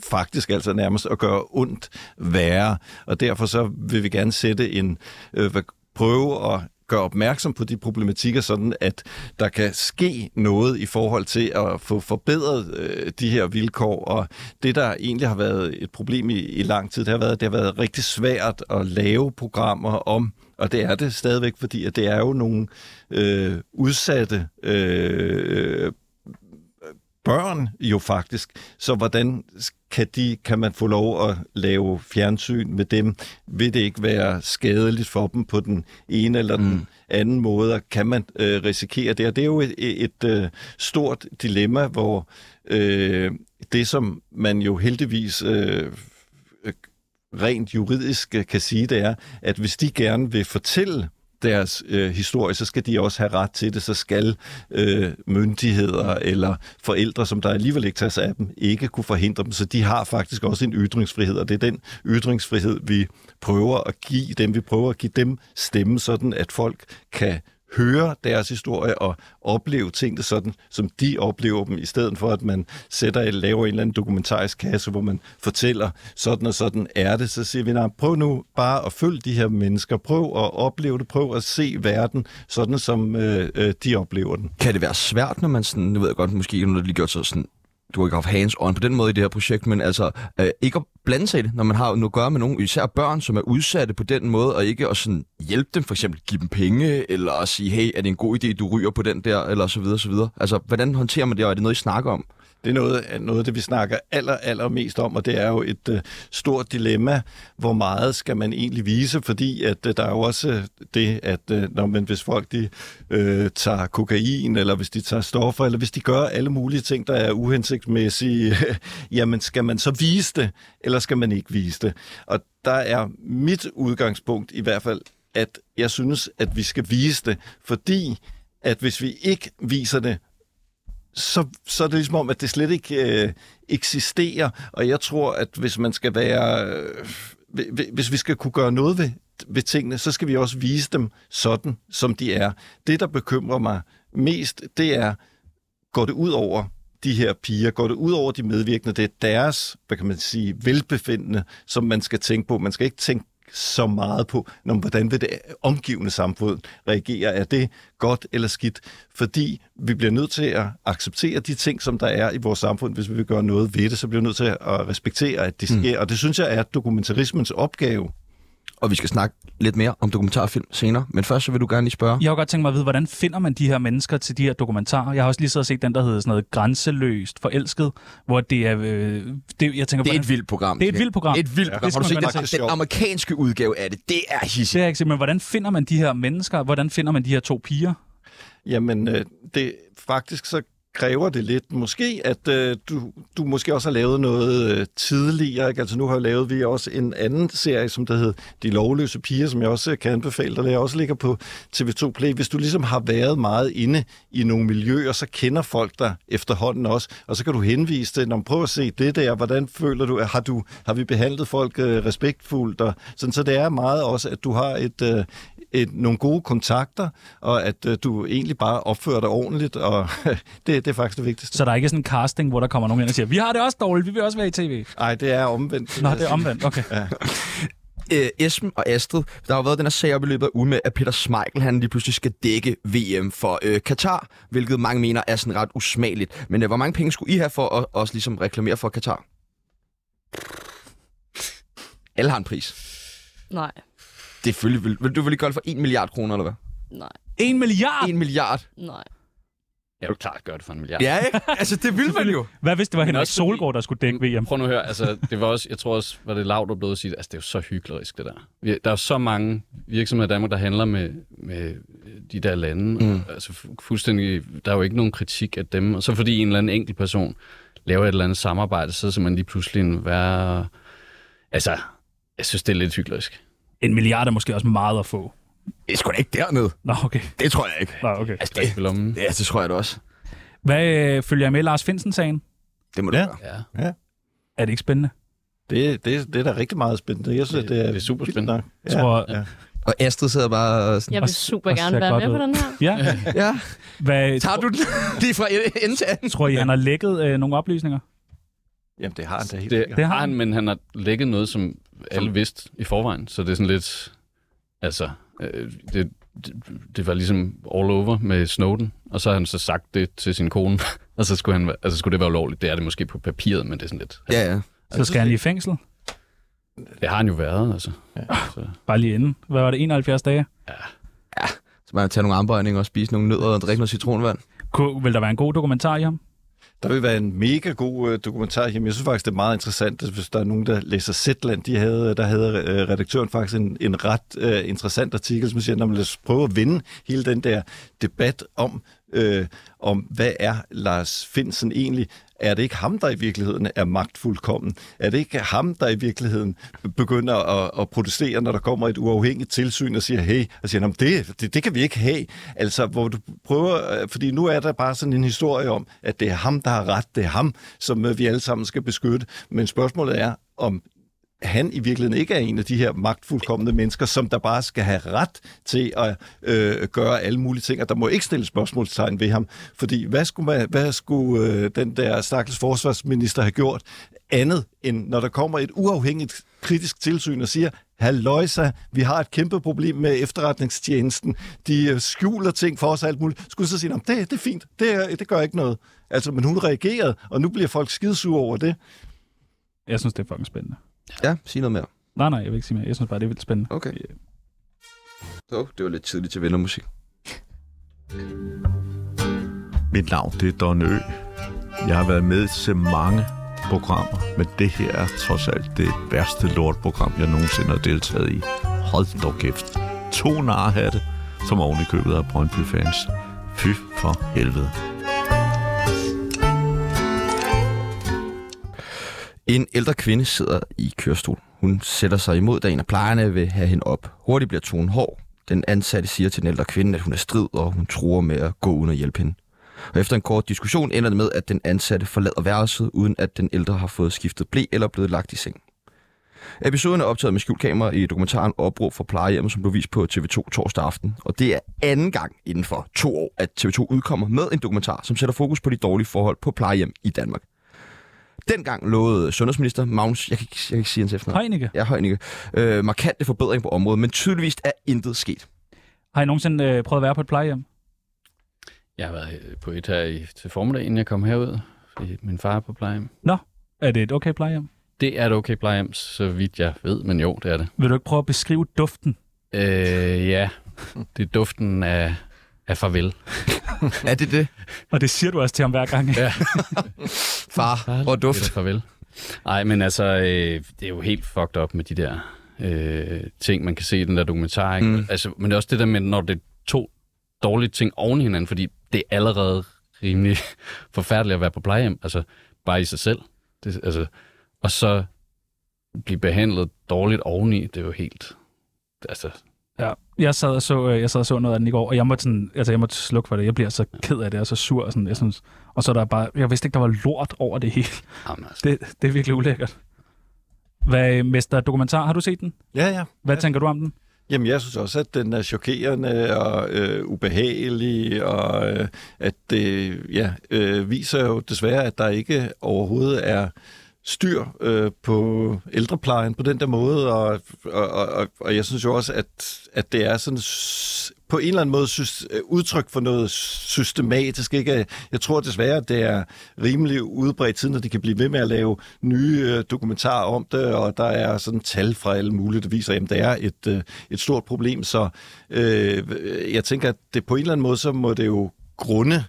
Speaker 4: faktisk altså nærmest at gøre ondt værre. Og derfor så vil vi gerne sætte en øh, hvad- prøve at gøre opmærksom på de problematikker, sådan at der kan ske noget i forhold til at få forbedret øh, de her vilkår. Og det, der egentlig har været et problem i, i lang tid, det har været, at det har været rigtig svært at lave programmer om, og det er det stadigvæk, fordi at det er jo nogle øh, udsatte øh, børn jo faktisk. Så hvordan kan, de, kan man få lov at lave fjernsyn med dem? Vil det ikke være skadeligt for dem på den ene eller den anden måde? Og kan man øh, risikere det? Og det er jo et, et, et øh, stort dilemma, hvor øh, det, som man jo heldigvis øh, øh, rent juridisk øh, kan sige, det er, at hvis de gerne vil fortælle deres øh, historie, så skal de også have ret til det, så skal øh, myndigheder eller forældre, som der alligevel ikke tager sig af dem, ikke kunne forhindre dem. Så de har faktisk også en ytringsfrihed, og det er den ytringsfrihed, vi prøver at give dem. Vi prøver at give dem stemme, sådan at folk kan høre deres historie og opleve tingene sådan, som de oplever dem, i stedet for at man sætter eller laver en eller anden dokumentarisk kasse, hvor man fortæller, sådan og sådan er det. Så siger vi, nej, prøv nu bare at følge de her mennesker, prøv at opleve det, prøv at se verden, sådan som øh, øh, de oplever den.
Speaker 1: Kan det være svært, når man sådan, nu ved jeg godt, måske ikke nu har det lige gjort sig sådan, du har ikke haft hands on på den måde i det her projekt, men altså øh, ikke at blande sig i det, når man har noget at gøre med nogen, især børn, som er udsatte på den måde, og ikke at sådan hjælpe dem, for eksempel give dem penge, eller at sige, hey, er det en god idé, du ryger på den der, eller så videre, så videre. Altså, hvordan håndterer man det, og er det noget, I snakker om?
Speaker 4: Det er noget af noget af det, vi snakker aller, aller mest om, og det er jo et øh, stort dilemma, hvor meget skal man egentlig vise, fordi at øh, der er jo også øh, det, at øh, når man, hvis folk de, øh, tager kokain, eller hvis de tager stoffer, eller hvis de gør alle mulige ting, der er uhensigtsmæssige, øh, jamen skal man så vise det, eller skal man ikke vise det? Og der er mit udgangspunkt i hvert fald, at jeg synes, at vi skal vise det, fordi at hvis vi ikke viser det, så, så er det ligesom om, at det slet ikke øh, eksisterer. Og jeg tror, at hvis man skal være... Øh, hvi- hvis vi skal kunne gøre noget ved, ved tingene, så skal vi også vise dem sådan, som de er. Det, der bekymrer mig mest, det er, går det ud over de her piger, går det ud over de medvirkende, det er deres, hvad kan man sige, velbefindende, som man skal tænke på. Man skal ikke tænke så meget på, når, hvordan vil det omgivende samfund reagere? Er det godt eller skidt? Fordi vi bliver nødt til at acceptere de ting, som der er i vores samfund. Hvis vi vil gøre noget ved det, så bliver vi nødt til at respektere, at det sker. Mm. Og det synes jeg er dokumentarismens opgave.
Speaker 1: Og vi skal snakke lidt mere om dokumentarfilm senere, men først så vil du gerne lige spørge.
Speaker 2: Jeg har godt tænkt mig at vide, hvordan finder man de her mennesker til de her dokumentarer? Jeg har også lige siddet og set den, der hedder sådan noget grænseløst forelsket, hvor det er... Øh, det, jeg tænker,
Speaker 1: Det er
Speaker 2: hvordan-
Speaker 1: et vildt program.
Speaker 2: Det er et
Speaker 1: her.
Speaker 2: vildt program.
Speaker 1: Et vildt program.
Speaker 2: Det
Speaker 1: Har
Speaker 2: skal
Speaker 1: du set
Speaker 2: man altså-
Speaker 1: det?
Speaker 4: se.
Speaker 1: Den amerikanske udgave af det, det er
Speaker 2: Det
Speaker 1: hissigt.
Speaker 2: har jeg ikke set, men hvordan finder man de her mennesker? Hvordan finder man de her to piger?
Speaker 4: Jamen, øh, det faktisk så kræver det lidt måske, at øh, du, du måske også har lavet noget øh, tidligere. Ikke? Altså nu har lavet vi også en anden serie, som der hedder De Lovløse Piger, som jeg også øh, kan anbefale dig. Der også ligger på TV2 Play. Hvis du ligesom har været meget inde i nogle miljøer, så kender folk dig efterhånden også, og så kan du henvise til, om prøv at se det der, hvordan føler du, har, du, har vi behandlet folk øh, respektfuldt? Og sådan, så det er meget også, at du har et, øh, et, nogle gode kontakter, og at øh, du egentlig bare opfører dig ordentligt, og det, det er faktisk det vigtigste.
Speaker 2: Så der er ikke sådan en casting, hvor der kommer nogen ind og siger, vi har det også dårligt, vi vil også være i tv.
Speaker 4: Nej, det er omvendt.
Speaker 2: Nå, det er omvendt. Okay.
Speaker 1: Øh, Esben og Astrid, der har jo været den her sag op i løbet af ugen med, at Peter Schmeichel han lige pludselig skal dække VM for øh, Katar, hvilket mange mener er sådan ret usmageligt. Men øh, hvor mange penge skulle I have for at også ligesom reklamere for Katar? Alle har en pris.
Speaker 3: Nej,
Speaker 1: Det er selvfølgelig, vil, vil, du vil ikke gøre det for 1 milliard kroner, eller hvad?
Speaker 3: nej,
Speaker 2: En milliard!
Speaker 1: 1 milliard?
Speaker 3: nej.
Speaker 5: Jeg vil klart gøre det for en milliard.
Speaker 1: Ja, ikke? Altså, det vil man jo.
Speaker 2: Hvad hvis det var Henrik
Speaker 5: også fordi-
Speaker 2: Solgaard, der skulle dække VM?
Speaker 5: Prøv nu at høre, altså, det var også, jeg tror også, var det lavt, der blev at sige, altså, det er jo så hyggeligt, det der. Vi- Der er jo så mange virksomheder i Danmark, der handler med, med de der lande. Mm. Altså, fu- fuldstændig, der er jo ikke nogen kritik af dem. Og så fordi en eller anden enkelt person laver et eller andet samarbejde, så er man lige pludselig en værre... Altså, jeg synes, det er lidt hyggeligt.
Speaker 2: En milliard er måske også meget at få.
Speaker 1: Det er sgu da ikke dernede.
Speaker 2: Nå, okay.
Speaker 1: Det tror jeg ikke.
Speaker 2: Nå, okay.
Speaker 1: Altså, det,
Speaker 5: Lommen.
Speaker 1: ja, det tror jeg da også.
Speaker 2: Hvad øh, følger jeg med Lars Finsen-sagen?
Speaker 1: Det må det
Speaker 4: Ja.
Speaker 1: være.
Speaker 5: Ja.
Speaker 2: Er det ikke spændende?
Speaker 4: Det, det, det er da rigtig meget spændende. Jeg synes, det, det er,
Speaker 5: det er superspændende.
Speaker 4: vildt nok.
Speaker 2: Jeg tror-
Speaker 4: ja.
Speaker 1: Og Astrid sidder bare og sådan...
Speaker 3: Jeg
Speaker 2: Og
Speaker 3: vil
Speaker 2: s-
Speaker 3: super
Speaker 2: og ser
Speaker 3: gerne være
Speaker 2: godt
Speaker 3: med på
Speaker 2: ud.
Speaker 3: den her.
Speaker 2: Ja.
Speaker 1: Ja.
Speaker 2: Hvad,
Speaker 1: Tager du den lige fra ende til anden?
Speaker 2: tror I, han har lækket øh, nogle oplysninger?
Speaker 4: Jamen, det har han da helt
Speaker 5: Det,
Speaker 4: sikkert.
Speaker 2: Det
Speaker 5: det
Speaker 2: har
Speaker 5: har han, men han har lægget noget, som alle vidste i forvejen, så det er sådan lidt... Altså, øh, det, det, det var ligesom all over med Snowden, og så har han så sagt det til sin kone, og så skulle, han, være- altså, skulle det være ulovligt. Det er det måske på papiret, men det er sådan lidt...
Speaker 1: Ja, ja.
Speaker 2: Så skal han i fængsel?
Speaker 5: Det har han jo været, altså.
Speaker 2: Bare lige inden. Hvad var det, 71 dage?
Speaker 1: Så man tager nogle armbøjninger og spise nogle nødder og drikke noget citronvand.
Speaker 2: Kunne, vil der være en god dokumentar i ham?
Speaker 4: Der vil være en mega god øh, dokumentar hjemme. Jeg synes faktisk, det er meget interessant, hvis der er nogen, der læser Zetland. De havde, der havde øh, redaktøren faktisk en, en ret øh, interessant artikel, som siger, at lad os prøve at vinde hele den der debat om øh, om, hvad er Lars Finsen egentlig? Er det ikke ham, der i virkeligheden er magtfuldkommen? Er det ikke ham, der i virkeligheden begynder at, at protestere, når der kommer et uafhængigt tilsyn og siger, hey, og siger, "Nå, men det, det, det kan vi ikke have. Altså, hvor du prøver, øh, fordi nu er der bare sådan en historie om, at det er ham, der har ret, det er ham, som øh, vi alle sammen skal beskytte. Men spørgsmålet er, om han i virkeligheden ikke er en af de her magtfuldkommende mennesker, som der bare skal have ret til at øh, gøre alle mulige ting, og der må ikke stille spørgsmålstegn ved ham. Fordi hvad skulle, man, hvad skulle øh, den der stakkels forsvarsminister have gjort andet, end når der kommer et uafhængigt kritisk tilsyn og siger, Halløjsa, vi har et kæmpe problem med efterretningstjenesten. De øh, skjuler ting for os og alt muligt. Skulle så sige, "Nå, men det, det er fint, det, er- det gør ikke noget. Altså, men hun reagerede, og nu bliver folk skidesure over det.
Speaker 2: Jeg synes, det er fucking spændende.
Speaker 1: Ja, sig noget mere.
Speaker 2: Nej, nej, jeg vil ikke sige mere. Jeg synes bare, det er vildt spændende.
Speaker 1: Okay.
Speaker 2: Ja.
Speaker 1: Så, det var lidt tidligt til vennermusik.
Speaker 7: Mit navn det er Don Ø. Jeg har været med til mange programmer, men det her er trods alt det værste lortprogram, jeg nogensinde har deltaget i. Hold dog kæft. To narhatte, som oven i købet af Brøndby-fans. Fy for helvede.
Speaker 1: En ældre kvinde sidder i kørestol. Hun sætter sig imod, da en af plejerne vil have hende op. Hurtigt bliver tonen hård. Den ansatte siger til den ældre kvinde, at hun er strid, og hun tror med at gå uden at hjælpe hende. Og efter en kort diskussion ender det med, at den ansatte forlader værelset, uden at den ældre har fået skiftet blæ eller blevet lagt i seng. Episoden er optaget med skjult kamera i dokumentaren Opråb fra plejehjemmet, som blev vist på TV2 torsdag aften. Og det er anden gang inden for to år, at TV2 udkommer med en dokumentar, som sætter fokus på de dårlige forhold på plejehjem i Danmark. Dengang lovede sundhedsminister Magnus, jeg kan ikke, jeg kan ikke sige hans efternavn,
Speaker 2: Heunicke,
Speaker 1: ja, Højnikke, øh, markante forbedring på området, men tydeligvis er intet sket.
Speaker 2: har I nogensinde øh, prøvet at være på et plejehjem?
Speaker 5: Jeg har været øh, på et her i, til formiddag, inden jeg kom herud, fordi min far er på plejehjem.
Speaker 2: Er det et okay plejehjem?
Speaker 5: Det er et okay plejehjem, så vidt jeg ved, men jo, det er det.
Speaker 2: Vil du ikke prøve at beskrive duften?
Speaker 5: Øh, ja, det er duften af, af farvel.
Speaker 1: Er det det,
Speaker 2: Og det siger du også til ham hver gang. Ja.
Speaker 1: far? Og
Speaker 5: Det
Speaker 1: duft.
Speaker 5: er farvel. Nej, men altså, øh, det er jo helt fucked up med de der øh, ting, man kan se i den der dokumentar. Ikke?
Speaker 1: Mm.
Speaker 5: Mm. Altså, men det er også det der med, når det er to dårlige ting oven i hinanden, fordi det er allerede rimelig forfærdeligt at være på plejehjem, altså bare i sig selv. Det, altså, og så blive behandlet dårligt oveni, det er jo helt... Altså,
Speaker 2: ja. Jeg, sad og så, øh, jeg sad og så noget af den i går, og jeg måtte, sådan, altså, jeg måtte slukke for det. Jeg bliver så ked af det, og så sur. Og, sådan, jeg synes, og så er der bare, jeg vidste ikke, der var lort over det hele.
Speaker 5: jamen, altså.
Speaker 2: Det, det er virkelig ulækkert. Hvad, øh, Mester Dokumentar, har du set den?
Speaker 4: Ja, ja.
Speaker 2: Hvad tænker du om den?
Speaker 4: Jamen, jeg synes også, at den er chokerende og øh, ubehagelig, og øh, at det ja, øh, viser jo desværre, at der ikke overhovedet er styr øh, på ældreplejen på den der måde, og, og, og, og jeg synes jo også, at, at det er sådan s- på en eller anden måde sys, øh, udtryk for noget systematisk. Ikke? Jeg tror desværre, at det er rimelig udbredt siden, at de kan blive ved med at lave nye øh, dokumentarer om det, og der er sådan tal fra alle mulige, der viser, at det er et, øh, et stort problem. Så øh, jeg tænker, at det på en eller anden måde, så må det jo grunde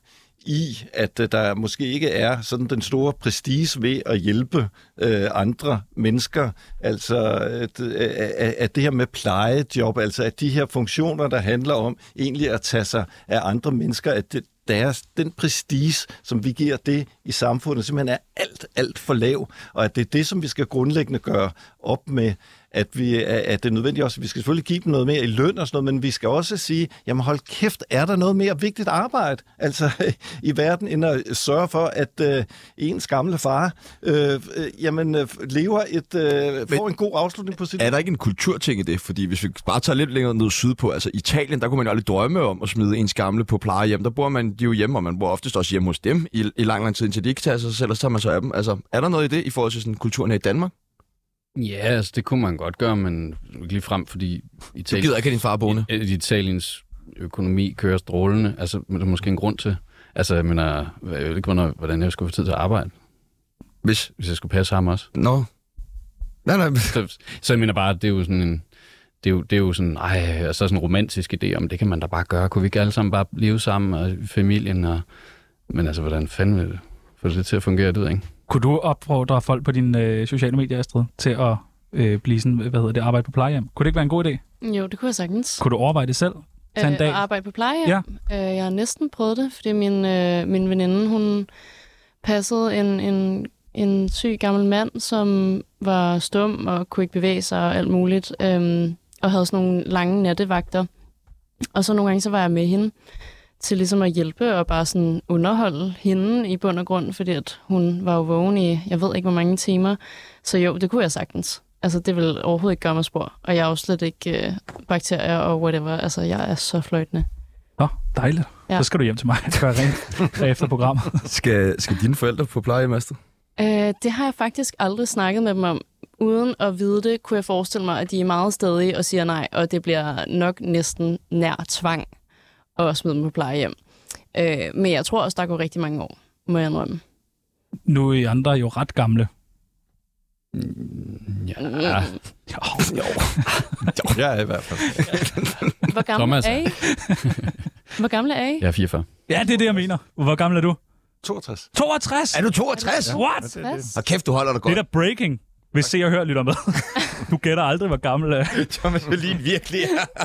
Speaker 4: i, at øh, der måske ikke er sådan den store prestige ved at hjælpe øh, andre mennesker. Altså, at, øh, at, at det her med plejejob, altså at de her funktioner, der handler om egentlig at tage sig af andre mennesker, at det, deres, den prestige, som vi giver det i samfundet, simpelthen er alt, alt for lav, og at det er det, som vi skal grundlæggende gøre op med, at, vi, at det er nødvendigt også, at vi skal selvfølgelig give dem noget mere i løn og sådan noget, men vi skal også sige, jamen hold kæft, er der noget mere vigtigt arbejde altså i verden, end at sørge for, at øh, ens gamle far øh, øh, jamen, øh, lever et, øh, får en god afslutning på sit
Speaker 8: Er der ikke en kulturting i det? Fordi hvis vi bare tager lidt længere ned sydpå, altså Italien, der kunne man jo aldrig drømme om at smide ens gamle på plejehjem. Der bor man de er jo hjemme, og man bor oftest også hjemme hos dem i, i lang, lang tid, indtil de ikke tager sig selv, og så tager man så af dem. Altså, er der noget i det i forhold til sådan, kulturen her i Danmark?
Speaker 5: Ja, altså, det kunne man godt gøre, men lige frem, fordi
Speaker 8: Du
Speaker 5: Italien...
Speaker 8: gider ikke have din far boende.
Speaker 5: I- i Øh, Italiens økonomi kører strålende, altså men der er måske en grund til. Altså, jeg mener, jeg ved ikke, hvornår, hvordan jeg skulle få tid til at arbejde,
Speaker 1: Hvis...
Speaker 5: hvis jeg skulle passe ham også.
Speaker 1: Nå. Nej, nej.
Speaker 5: Så, så jeg mener bare, det er jo sådan en... Det er, jo, det er jo sådan, ej, og så sådan en romantisk idé om, det kan man da bare gøre. Kunne vi ikke alle sammen bare leve sammen og i familien? Og, men altså, hvordan fanden vil det få det til at fungere, det ved jeg ikke.
Speaker 2: Kunne du opfordre folk på dine øh, sociale medier, Astrid, til at øh, blive sådan, hvad hedder det, arbejde på plejehjem? Kunne det ikke være en god idé?
Speaker 3: Jo, det kunne jeg sagtens.
Speaker 2: Kunne du overveje det selv? Tag en
Speaker 3: øh,
Speaker 2: dag.
Speaker 3: at arbejde på plejehjem. Ja. Øh, jeg har næsten prøvet det, fordi min, øh, min veninde, hun passede en, en, en syg gammel mand, som var stum og kunne ikke bevæge sig og alt muligt, øhm, og havde sådan nogle lange nattevagter. Og så nogle gange, så var jeg med hende til ligesom at hjælpe og bare sådan underholde hende i bund og grund, fordi at hun var jo vågen i, jeg ved ikke hvor mange timer. Så jo, det kunne jeg sagtens. Altså, det vil overhovedet ikke gøre mig spor. Og jeg er jo slet ikke øh, bakterier og whatever. Altså, jeg er så fløjtende.
Speaker 2: Nå, dejligt. Ja.
Speaker 3: Ja.
Speaker 2: Så skal du hjem til mig. Gør rent efter programmet.
Speaker 8: Skal, skal dine forældre på plejehjem, Astrid?
Speaker 3: Øh, det har jeg faktisk aldrig snakket med dem om. Uden at vide det, kunne jeg forestille mig, at de er meget stadige og siger nej, og det bliver nok næsten nær tvang at smide dem på plejehjem. Øh, men jeg tror også, der går rigtig mange år, må jeg indrømme.
Speaker 2: Nu er I andre jo ret gamle.
Speaker 5: Ja.
Speaker 4: Jeg er i hvert fald.
Speaker 3: Hvor gamle
Speaker 5: Thomas.
Speaker 3: er I? Hvor gamle er I?
Speaker 5: Jeg er 44.
Speaker 2: Ja, det er det, jeg mener. Hvor gammel er du?
Speaker 4: 62.
Speaker 2: 62?
Speaker 8: Er du 62?
Speaker 2: What?
Speaker 3: Hvad?
Speaker 8: Og kæft, du holder dig
Speaker 2: Det
Speaker 8: godt.
Speaker 2: er da breaking. Hvis se og hør lytter med. Du gætter aldrig, hvor gammel øh,
Speaker 8: Thomas Helin virkelig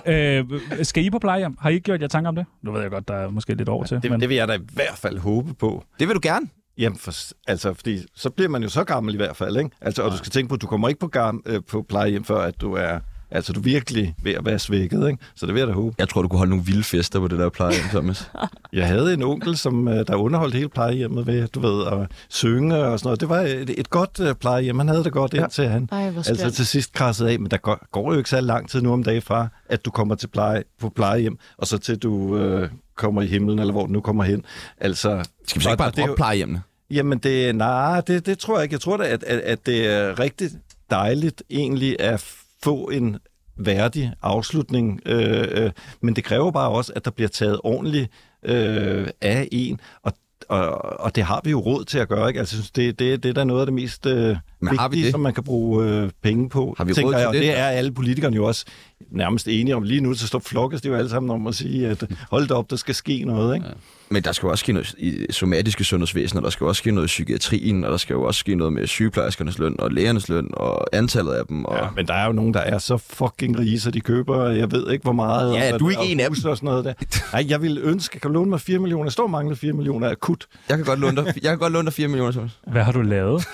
Speaker 8: er.
Speaker 2: øh, Skal I på plejehjem? Har I ikke gjort jer tanker om det? Nu ved jeg godt, der er måske lidt over til.
Speaker 4: Det, det vil jeg da i hvert fald håbe på.
Speaker 8: Det vil du gerne.
Speaker 4: Jamen, for, altså, fordi så bliver man jo så gammel i hvert fald, ikke? Altså, og du skal tænke på, at du kommer ikke på, gam, øh, på plejehjem, før at du er altså, du er virkelig ved at være svækket, ikke? Så det vil jeg da håbe.
Speaker 8: Jeg tror, du kunne holde nogle vilde fester på det der plejehjem, Thomas.
Speaker 4: Jeg havde en onkel, som øh, der underholdt hele plejehjemmet ved, du ved, at synge og sådan noget. Det var et, et godt øh, plejehjem. Han havde det godt indtil han.
Speaker 3: Ej, hvor skønt.
Speaker 4: Altså til sidst krassede af, men der går, går jo ikke så lang tid nu om dagen fra, at du kommer til pleje, på plejehjem, og så til du øh, kommer i himlen, eller hvor du nu kommer hen. Altså,
Speaker 8: Skal vi så ikke
Speaker 4: og
Speaker 8: bare
Speaker 4: det er jo-
Speaker 8: droppe plejehjemmene?
Speaker 4: Jamen, det, nej, det, det tror jeg ikke. Jeg tror da, at, at, at det er rigtig dejligt egentlig at få en værdig afslutning, øh, øh, men det kræver bare også, at der bliver taget ordentligt øh, af en, og, og, og det har vi jo råd til at gøre, ikke? Altså, jeg synes, det, det, det er da noget af det mest øh, vigtige,
Speaker 8: har vi det?
Speaker 4: som man kan bruge øh, penge på,
Speaker 8: Har vi
Speaker 4: tænker
Speaker 8: råd til
Speaker 4: jeg, og
Speaker 8: det?
Speaker 4: det er alle politikerne jo også nærmest enige om. Lige nu, så står flokkes de jo alle sammen om at sige, at hold da op, der skal ske noget, ikke?
Speaker 8: Men der skal jo også ske noget i somatiske sundhedsvæsen, og der skal jo også ske noget i psykiatrien, og der skal jo også ske noget med sygeplejerskernes løn, og lægernes løn, og antallet af dem. Og...
Speaker 4: Ja, men der er jo nogen, der er så fucking rige, så de køber, jeg ved ikke hvor meget.
Speaker 8: Ja,
Speaker 4: og,
Speaker 8: du er ikke
Speaker 4: og
Speaker 8: en af
Speaker 4: huse Og sådan noget der. Nej, jeg ville ønske, kan du låne mig 4 millioner? Jeg står mangler 4 millioner akut.
Speaker 8: Jeg kan godt låne dig, jeg kan godt låne dig 4 millioner, Thomas.
Speaker 2: Hvad har du lavet?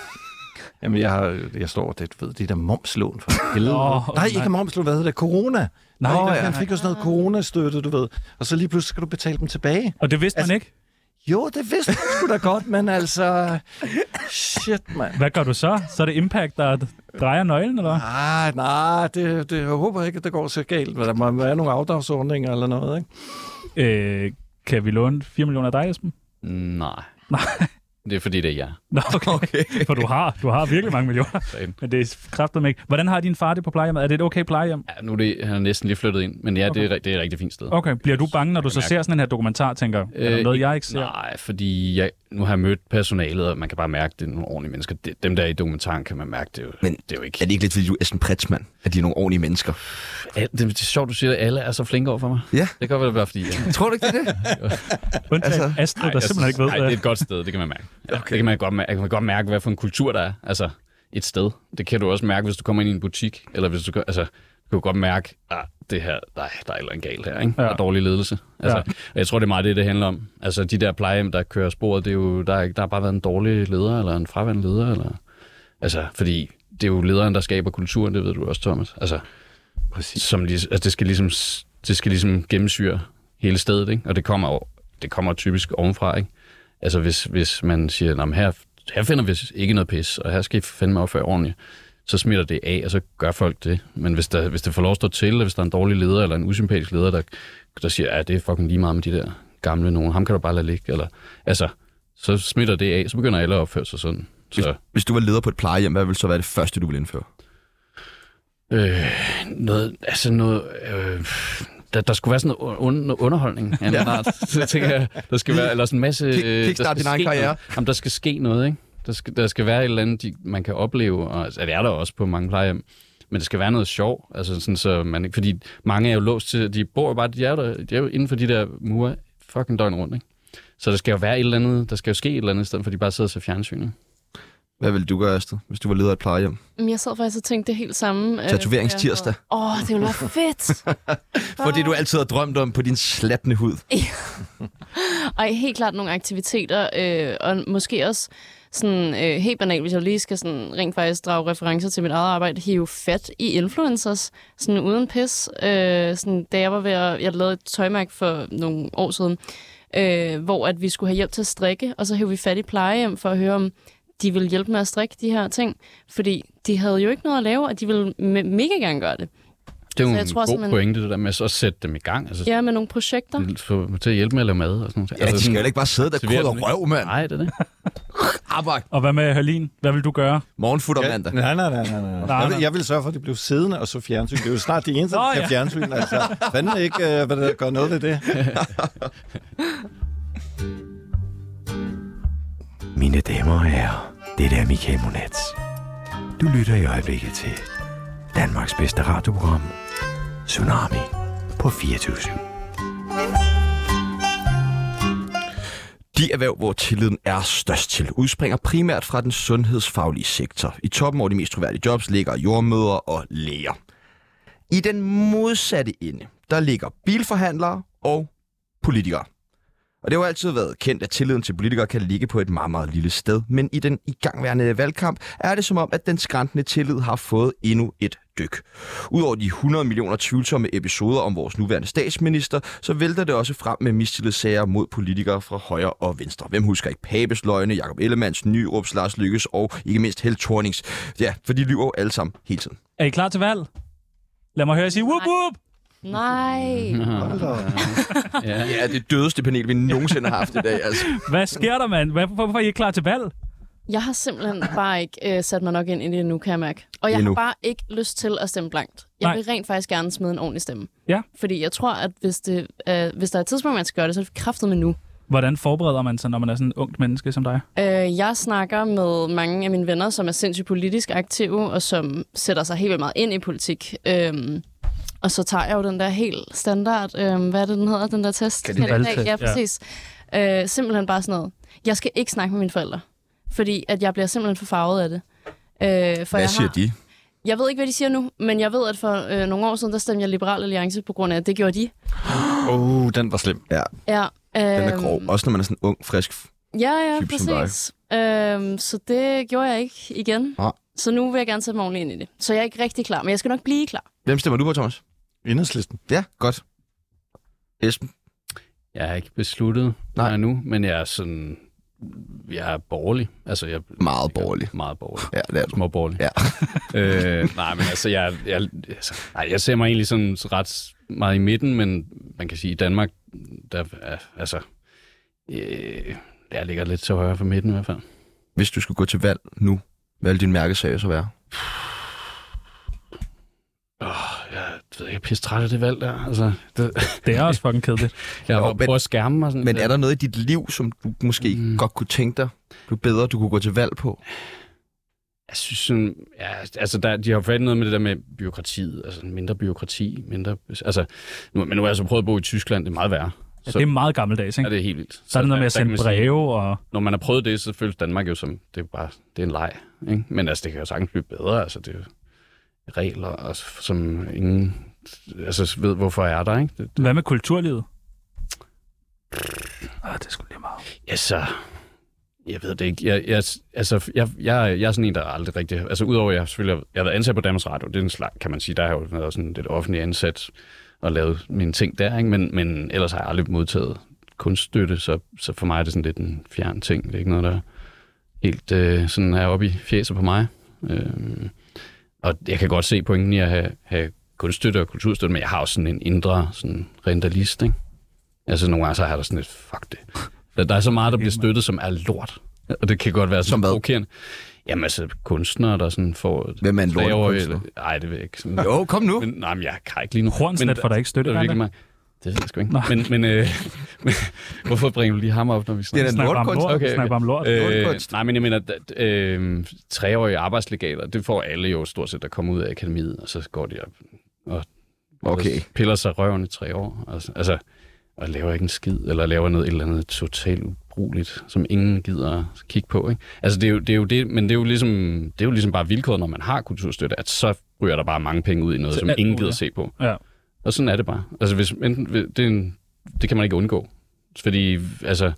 Speaker 4: Jamen, jeg, har, jeg står det, ved, det der momslån for helvede.
Speaker 2: Åh,
Speaker 4: nej,
Speaker 2: nej.
Speaker 4: ikke momslån, hvad hedder det? Corona.
Speaker 2: Nå,
Speaker 4: Nej, nej,
Speaker 2: ja,
Speaker 4: han fik jo sådan noget coronastøtte, du ved. Og så lige pludselig skal du betale dem tilbage.
Speaker 2: Og det vidste man
Speaker 4: Altså-
Speaker 2: ikke.
Speaker 4: Jo, det vidste du sgu da godt, men altså... Shit, mand.
Speaker 2: Hvad gør du så? Så er det Impact, der drejer nøglen, eller hvad?
Speaker 4: Ah, nej, det, det, jeg håber ikke, at det går så galt. men Der må være nogle afdragsordninger eller noget, ikke?
Speaker 2: Øh, kan vi låne 4 millioner af dig, Esben?
Speaker 5: Nej.
Speaker 2: Nej.
Speaker 5: Det er fordi, det er jeg.
Speaker 2: Nå, okay. okay. For du har, du har virkelig mange millioner.
Speaker 5: Sådan.
Speaker 2: Men det er kraftigt ikke. Hvordan har din far det på plejehjemmet? Er det et okay plejehjem?
Speaker 5: Ja, nu er det, han er næsten lige flyttet ind, men ja, okay. det, er, ri- det er et rigtig fint sted.
Speaker 2: Okay. Bliver du bange, når du så
Speaker 5: mærke
Speaker 2: ser sådan en her dokumentar, tænker, øh, er der noget, jeg ikke ser?
Speaker 5: Nej, fordi jeg, nu har jeg mødt personalet, og man kan bare mærke, det er nogle ordentlige mennesker. Det, dem, der er i dokumentaren, kan man mærke, det er jo,
Speaker 8: Men
Speaker 5: det er jo ikke...
Speaker 8: Er det ikke lidt, fordi du er sådan pretsmand? At de er nogle ordentlige mennesker?
Speaker 5: Al- det, det er sjovt, du siger, at alle er så flinke over for mig.
Speaker 8: Ja.
Speaker 5: Det kan godt være, det er bare fordi... Jeg,
Speaker 8: Tror du ikke, det er det?
Speaker 2: Undtagen
Speaker 8: altså-
Speaker 2: altså, Astrid, der
Speaker 5: jeg
Speaker 2: simpelthen ikke ved,
Speaker 5: Nej,
Speaker 2: hvad-
Speaker 5: det er et godt sted, det kan man mærke. Ja, okay. Det kan man godt mærke. Man kan godt mærke, hvad for en kultur der er. Altså, et sted. Det kan du også mærke, hvis du kommer ind i en butik, eller hvis du... gør- Altså, du kan jo godt mærke, at det her, nej, der er et eller andet galt her, ikke?
Speaker 2: Ja.
Speaker 5: Ja. Der er dårlig ledelse. Altså,
Speaker 2: Ja.
Speaker 5: ja. og jeg tror, det er meget det, det handler om. Altså, de der plejehjem, der kører sporet, det er jo, der, er, ikke- der har bare været en dårlig leder, eller en fraværende leder, eller... Altså, fordi det er jo lederen, der skaber kulturen, det ved du også, Thomas. Altså, Præcis. Som, lig- altså, det, skal ligesom, s- det skal ligesom gennemsyre hele stedet, ikke? og det kommer, jo- det kommer typisk ovenfra. Ikke? Altså, hvis, hvis man siger, at her, her finder vi ikke noget pis, og her skal I fandme opføre ordentligt, så smitter det af, og så gør folk det. Men hvis, der, hvis det får lov at stå til, og hvis der er en dårlig leder, eller en usympatisk leder, der, der siger, at det er fucking lige meget med de der gamle nogen, ham kan du bare lade ligge, eller, altså, så smitter det af, så begynder alle at opføre sig sådan. Så,
Speaker 8: Hvis du var leder på et plejehjem, hvad ville så være det første, du ville indføre?
Speaker 5: Øh, noget, altså noget, øh, der, der skulle være sådan noget un, noget underholdning af en eller art. Så tænker jeg, der skal være, eller sådan en masse...
Speaker 8: Kick-
Speaker 5: øh, der
Speaker 8: kickstart
Speaker 5: skal
Speaker 8: din egen
Speaker 5: ske
Speaker 8: karriere.
Speaker 5: Noget, jamen, der skal ske noget, ikke? Der skal, der skal være et eller andet, de, man kan opleve, og altså, det er der også på mange plejehjem, men det skal være noget sjov, altså sådan, så man ikke, fordi mange er jo låst til, de bor jo bare, de er, jo der, de er jo inden for de der mure
Speaker 3: Altså,
Speaker 5: fucking døgn rundt, ikke? Så der skal jo være et eller andet, der skal jo ske et eller andet, i stedet for at de bare sidder og ser fjernsyn. ikke?
Speaker 1: Hvad ville du gøre, Astrid, hvis du var leder af et plejehjem?
Speaker 3: Men jeg sad faktisk og tænkte det helt samme. øh,
Speaker 1: Tatoveringstirsdag.
Speaker 3: da jeg havde- Åh, oh, det ville være fedt.
Speaker 1: Fordi du altid har drømt om på din slappende hud.
Speaker 3: Ej, helt klart nogle aktiviteter, øh, og måske også sådan øh, helt banalt, hvis jeg lige skal sådan rent faktisk drage referencer til mit eget arbejde, hive fat i influencers, sådan uden pis. Øh, sådan, da jeg var ved at, jeg lavede et tøjmærke for nogle år siden, øh, hvor at vi skulle have hjælp til at strikke, og så hævde vi fat i plejehjem for at høre, om de ville hjælpe med at strikke de her ting, fordi de havde jo ikke noget at lave, og de ville me- mega gerne gøre det.
Speaker 5: Det er jo
Speaker 3: Så jeg
Speaker 5: en
Speaker 3: tror
Speaker 5: god
Speaker 3: også, man-
Speaker 5: pointe, det der med så at sætte dem i gang. Altså,
Speaker 3: Ja, med nogle projekter.
Speaker 5: få til at hjælpe med at lave mad og sådan noget.
Speaker 1: Ja, de skal jo ikke bare sidde der
Speaker 5: serverer
Speaker 1: krydder
Speaker 5: den ikke.
Speaker 1: røv, mand.
Speaker 5: Nej, det er det.
Speaker 1: Arbejde.
Speaker 2: Og hvad med Hørlin? Hvad vil du gøre?
Speaker 1: Morgenfutter mandag.
Speaker 4: Nej, nej, nej, nej, nej.
Speaker 2: Nej,
Speaker 4: Jeg,
Speaker 2: nej.
Speaker 4: vil, jeg vil sørge for, at det blev siddende, og så fjernsyn. Det er jo snart de eneste,
Speaker 2: Nå,
Speaker 4: der
Speaker 2: ja.
Speaker 4: kan fjernsyn. Altså, fanden ikke, øh, hvad der gør noget ved det.
Speaker 7: Mine damer og herrer, det er Michael Monats. Du lytter i øjeblikket til Danmarks bedste radioprogram, Tsunami på 24
Speaker 1: De erhverv, hvor tilliden er størst til, udspringer primært fra den sundhedsfaglige sektor. I toppen over de mest troværdige jobs ligger jordmøder og læger. I den modsatte ende, der ligger bilforhandlere og politikere. Og det har jo altid været kendt, at tilliden til politikere kan ligge på et meget, meget lille sted. Men i den igangværende valgkamp er det som om, at den skrantende tillid har fået endnu et dyk. Udover de 100 millioner tvivlsomme episoder om vores nuværende statsminister, så vælter det også frem med mistillidssager mod politikere fra højre og venstre. Hvem husker ikke Papes løgne, Jakob Ellemanns, Nyrups, Lars Lykkes og ikke mindst Held Thornings? Ja, for de lyver jo alle sammen hele tiden.
Speaker 2: Er I klar til valg? Lad mig høre jer sige whoop
Speaker 3: Nej.
Speaker 2: whoop!
Speaker 3: Nej.
Speaker 5: Ja.
Speaker 1: Ja, det dødeste panel, vi nogensinde har haft i dag, altså.
Speaker 2: Hvad sker der, mand? Hvad- Hvorfor er I ikke klar til valg?
Speaker 3: Jeg har simpelthen bare ikke øh, sat mig nok ind i det endnu, kan jeg mærke. Og jeg
Speaker 1: Endnu.
Speaker 3: har bare ikke lyst til at stemme blankt. Jeg
Speaker 2: Nej.
Speaker 3: vil rent faktisk gerne smide en ordentlig stemme.
Speaker 2: Ja.
Speaker 3: Fordi jeg tror, at hvis, det, øh, hvis der er et tidspunkt, man skal gøre det, så er det kraftet med nu.
Speaker 2: Hvordan forbereder man sig, når man er sådan en ungt menneske som dig?
Speaker 3: Øh, jeg snakker med mange af mine venner, som er sindssygt politisk aktive, og som sætter sig helt vildt meget ind i politik. Øhm, og så tager jeg jo den der helt standard, øhm, hvad er det, den hedder, den der test?
Speaker 2: Kandidattest,
Speaker 3: Ja,
Speaker 2: ja.
Speaker 3: præcis. Øh, simpelthen bare sådan noget. Jeg skal ikke snakke med mine forældre, fordi at jeg bliver simpelthen for farvet af det. Øh, for jeg har,
Speaker 1: de?
Speaker 3: Jeg ved ikke, hvad de siger nu, men jeg ved, at for øh, nogle år siden, der stemte jeg Liberal Alliance på grund af, at det gjorde de.
Speaker 4: Åh, oh, den var slem.
Speaker 1: Ja,
Speaker 3: Ja, øh,
Speaker 1: den er grov. Også når man er sådan ung, frisk.
Speaker 3: Ja, ja,
Speaker 1: type som dig.
Speaker 3: præcis. Øhm, så det gjorde jeg ikke igen.
Speaker 1: Nej.
Speaker 3: Så nu vil jeg gerne sætte mig ordentligt ind i det. Så jeg er ikke rigtig klar, men jeg skal nok blive klar.
Speaker 1: Hvem stemmer du på, Thomas?
Speaker 4: Enhedslisten.
Speaker 1: Ja, godt. Esben?
Speaker 5: Jeg har ikke besluttet
Speaker 1: Nej.
Speaker 5: mig nu, men jeg er sådan... Jeg er borgerlig. Altså, jeg er
Speaker 1: Meget borgerlig.
Speaker 5: meget borgerlig.
Speaker 1: Ja, det er du.
Speaker 5: Småborgerlig.
Speaker 1: Ja.
Speaker 5: øh, nej, men altså, jeg, jeg, altså, nej, jeg ser mig egentlig sådan ret meget i midten, men man kan sige, i Danmark, der er, altså, øh, jeg ligger lidt til højre for midten i hvert fald.
Speaker 1: Hvis du skulle gå til valg nu, hvad ville din mærkesag så være?
Speaker 5: Jeg ved ikke, jeg er pisse træt af det valg der. Altså, det,
Speaker 2: Det er også fucking kedeligt.
Speaker 5: jeg har
Speaker 1: Jo,
Speaker 5: bare
Speaker 1: men-
Speaker 5: prøvet at skærme mig sådan.
Speaker 1: Men er der noget i dit liv, som du måske mm. godt kunne tænke dig, du bedre du kunne gå til valg på?
Speaker 5: Jeg synes sådan, ja, altså der, de har jo fat i noget med det der med byråkratiet, altså mindre byråkrati, mindre, altså, nu, men nu har jeg så prøvet at bo i Tyskland, det er meget værre.
Speaker 2: Ja,
Speaker 5: Så-
Speaker 2: det er meget gammeldags,
Speaker 5: Ja,
Speaker 2: ikke?
Speaker 5: det er helt vildt.
Speaker 2: Så er det noget med at
Speaker 5: der kan
Speaker 2: sende
Speaker 5: man sige,
Speaker 2: breve og...
Speaker 5: Når man har prøvet det, så føles Danmark jo som, det er bare, det er en leg, ikke? Men altså, det kan jo sagtens blive bedre, altså det er jo regler, og, s- som ingen, altså ved, hvorfor er der, ikke? Det,
Speaker 2: Hvad med kulturlivet? Ah, det skulle lige meget.
Speaker 5: Altså, jeg ved det ikke. Jeg, jeg, altså, jeg, jeg, jeg er sådan en, der aldrig rigtig... Altså, udover at jeg selvfølgelig har- jeg har været ansat på Danmarks Radio, det er en slags, kan man sige, der har jeg jo været sådan lidt offentlig ansat og lavet mine ting der, ikke? Men, men ellers har jeg aldrig modtaget kunststøtte, så, så for mig er det sådan lidt en fjern ting. Det er ikke noget, der helt øh, sådan er oppe i fjeset på mig. Øh, og jeg kan godt se pointen i at have, have kunststøtte og kulturstøtte, men jeg har også sådan en indre sådan rentalist, ikke? Altså, nogle gange så har der sådan lidt, fuck det. Der, der er så meget, der bliver støttet, som er lort. Og det kan godt være
Speaker 1: Som
Speaker 5: sådan
Speaker 1: hvad?
Speaker 5: provokerende. Jamen altså, kunstnere, der sådan får...
Speaker 1: Hvem er en
Speaker 5: slageøje
Speaker 1: lortekunstner?
Speaker 5: eller- Nej, det ved jeg ikke. Sådan,
Speaker 1: Jo, kom nu.
Speaker 5: men, nej, men jeg kan ikke lige nu.
Speaker 2: Hornslet
Speaker 5: Men-
Speaker 2: får da ikke støtte,
Speaker 5: Det
Speaker 2: gør
Speaker 5: er virkelig
Speaker 2: han
Speaker 5: mig. Det ved jeg sgu ikke.
Speaker 2: Nå.
Speaker 5: Men, men, øh, men hvorfor bringer du lige ham op, når vi
Speaker 1: Det
Speaker 5: snakker?
Speaker 1: er en
Speaker 2: Snakker bare om
Speaker 1: lortekunst.
Speaker 2: lort. Okay,
Speaker 5: Okay, okay.
Speaker 2: Snakker bare om lort.
Speaker 5: Øh,
Speaker 1: lortekunst.
Speaker 5: nej, men jeg mener, at, øh, treårige arbejdslegater, det får alle jo stort set, der kommer ud af akademiet, og så går de op og
Speaker 1: Okay.
Speaker 5: piller sig røven i tre år. Altså, altså og laver ikke en skid, eller laver noget et eller andet totalt ubrugeligt, som ingen gider kigge på. Ikke? Altså det er, jo, det er jo det, men det er jo, ligesom, det er jo ligesom bare vilkåret, når man har kulturstøtte, at så ryger der bare mange penge ud i noget,
Speaker 2: Til
Speaker 5: som
Speaker 2: alt
Speaker 5: ingen
Speaker 2: muligt.
Speaker 5: gider se på.
Speaker 2: Ja.
Speaker 5: Og sådan er det bare. Altså, hvis, enten, det, er en, det kan man ikke undgå. Fordi, altså...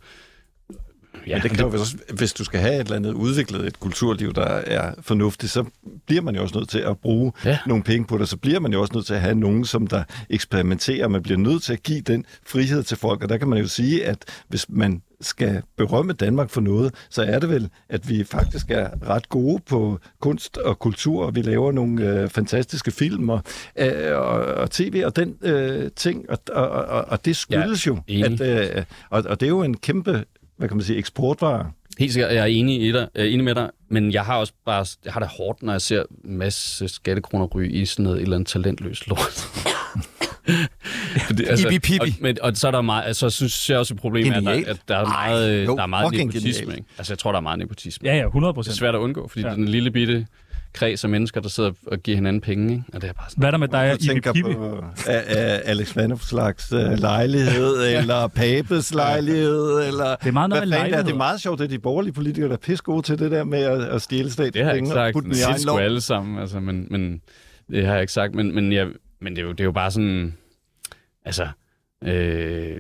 Speaker 5: Ja,
Speaker 4: Men det kan jo også, hvis du skal have et eller andet udviklet, et kulturliv, der er fornuftigt, så bliver man jo også nødt til at bruge
Speaker 5: Ja.
Speaker 4: ja. nogle penge på det. Så bliver man jo også nødt til at have nogen, som der eksperimenterer. Man bliver nødt til at give den frihed til folk. Og der kan man jo sige, at hvis man skal berømme Danmark for noget, så er det vel, at vi faktisk er ret gode på kunst og kultur, og vi laver nogle øh, fantastiske film og, øh, og, og tv og den øh, ting, og, og, og, og det skyldes ja, jo,
Speaker 5: enig.
Speaker 4: at, øh, og, og det er jo en kæmpe hvad kan man sige, eksportvare.
Speaker 5: Helt sikkert, jeg er enig, i dig, øh, enig med dig, men jeg har også bare, jeg har det hårdt, når jeg ser en masse skattekroner ryge i sådan noget et eller andet talentløst lort. Fordi, altså,
Speaker 1: Ibi pibi.
Speaker 5: Og, men, og så er der meget, altså, så synes jeg også et problem er, at
Speaker 1: Genialt.
Speaker 5: der, at der er meget, øh,
Speaker 4: jo,
Speaker 5: der er meget
Speaker 4: fucking
Speaker 5: nepotisme.
Speaker 4: genialt.
Speaker 5: Ikke? Altså, jeg tror, der er meget nepotisme.
Speaker 2: Ja, ja, 100
Speaker 5: Det er
Speaker 2: procent.
Speaker 5: svært at undgå, fordi
Speaker 2: Ja.
Speaker 5: ja. den lille bitte kreds af mennesker, der sidder og giver hinanden penge, ikke? og det er bare sådan,
Speaker 2: Hvad er der med dig og
Speaker 4: Jeg
Speaker 2: Ibi
Speaker 4: tænker
Speaker 2: Pibi?
Speaker 4: på øh, øh, Alex Vanopslags øh, lejlighed, eller Papes lejlighed, eller...
Speaker 2: Det er meget noget
Speaker 4: Hvad
Speaker 2: med
Speaker 4: fanden er det? det
Speaker 2: lejligheder.
Speaker 4: er meget sjovt, at de borgerlige politikere, der er pisse gode til det der med at, at stjæle
Speaker 5: Det har jeg ikke
Speaker 4: statspenge og
Speaker 5: sagt.
Speaker 4: putte
Speaker 5: Det
Speaker 4: den i egen
Speaker 5: er sgu
Speaker 4: lov.
Speaker 5: alle sammen, altså, men, men det har jeg ikke sagt. Men, men, jeg, men det, er jo, det er jo bare sådan, altså, øh,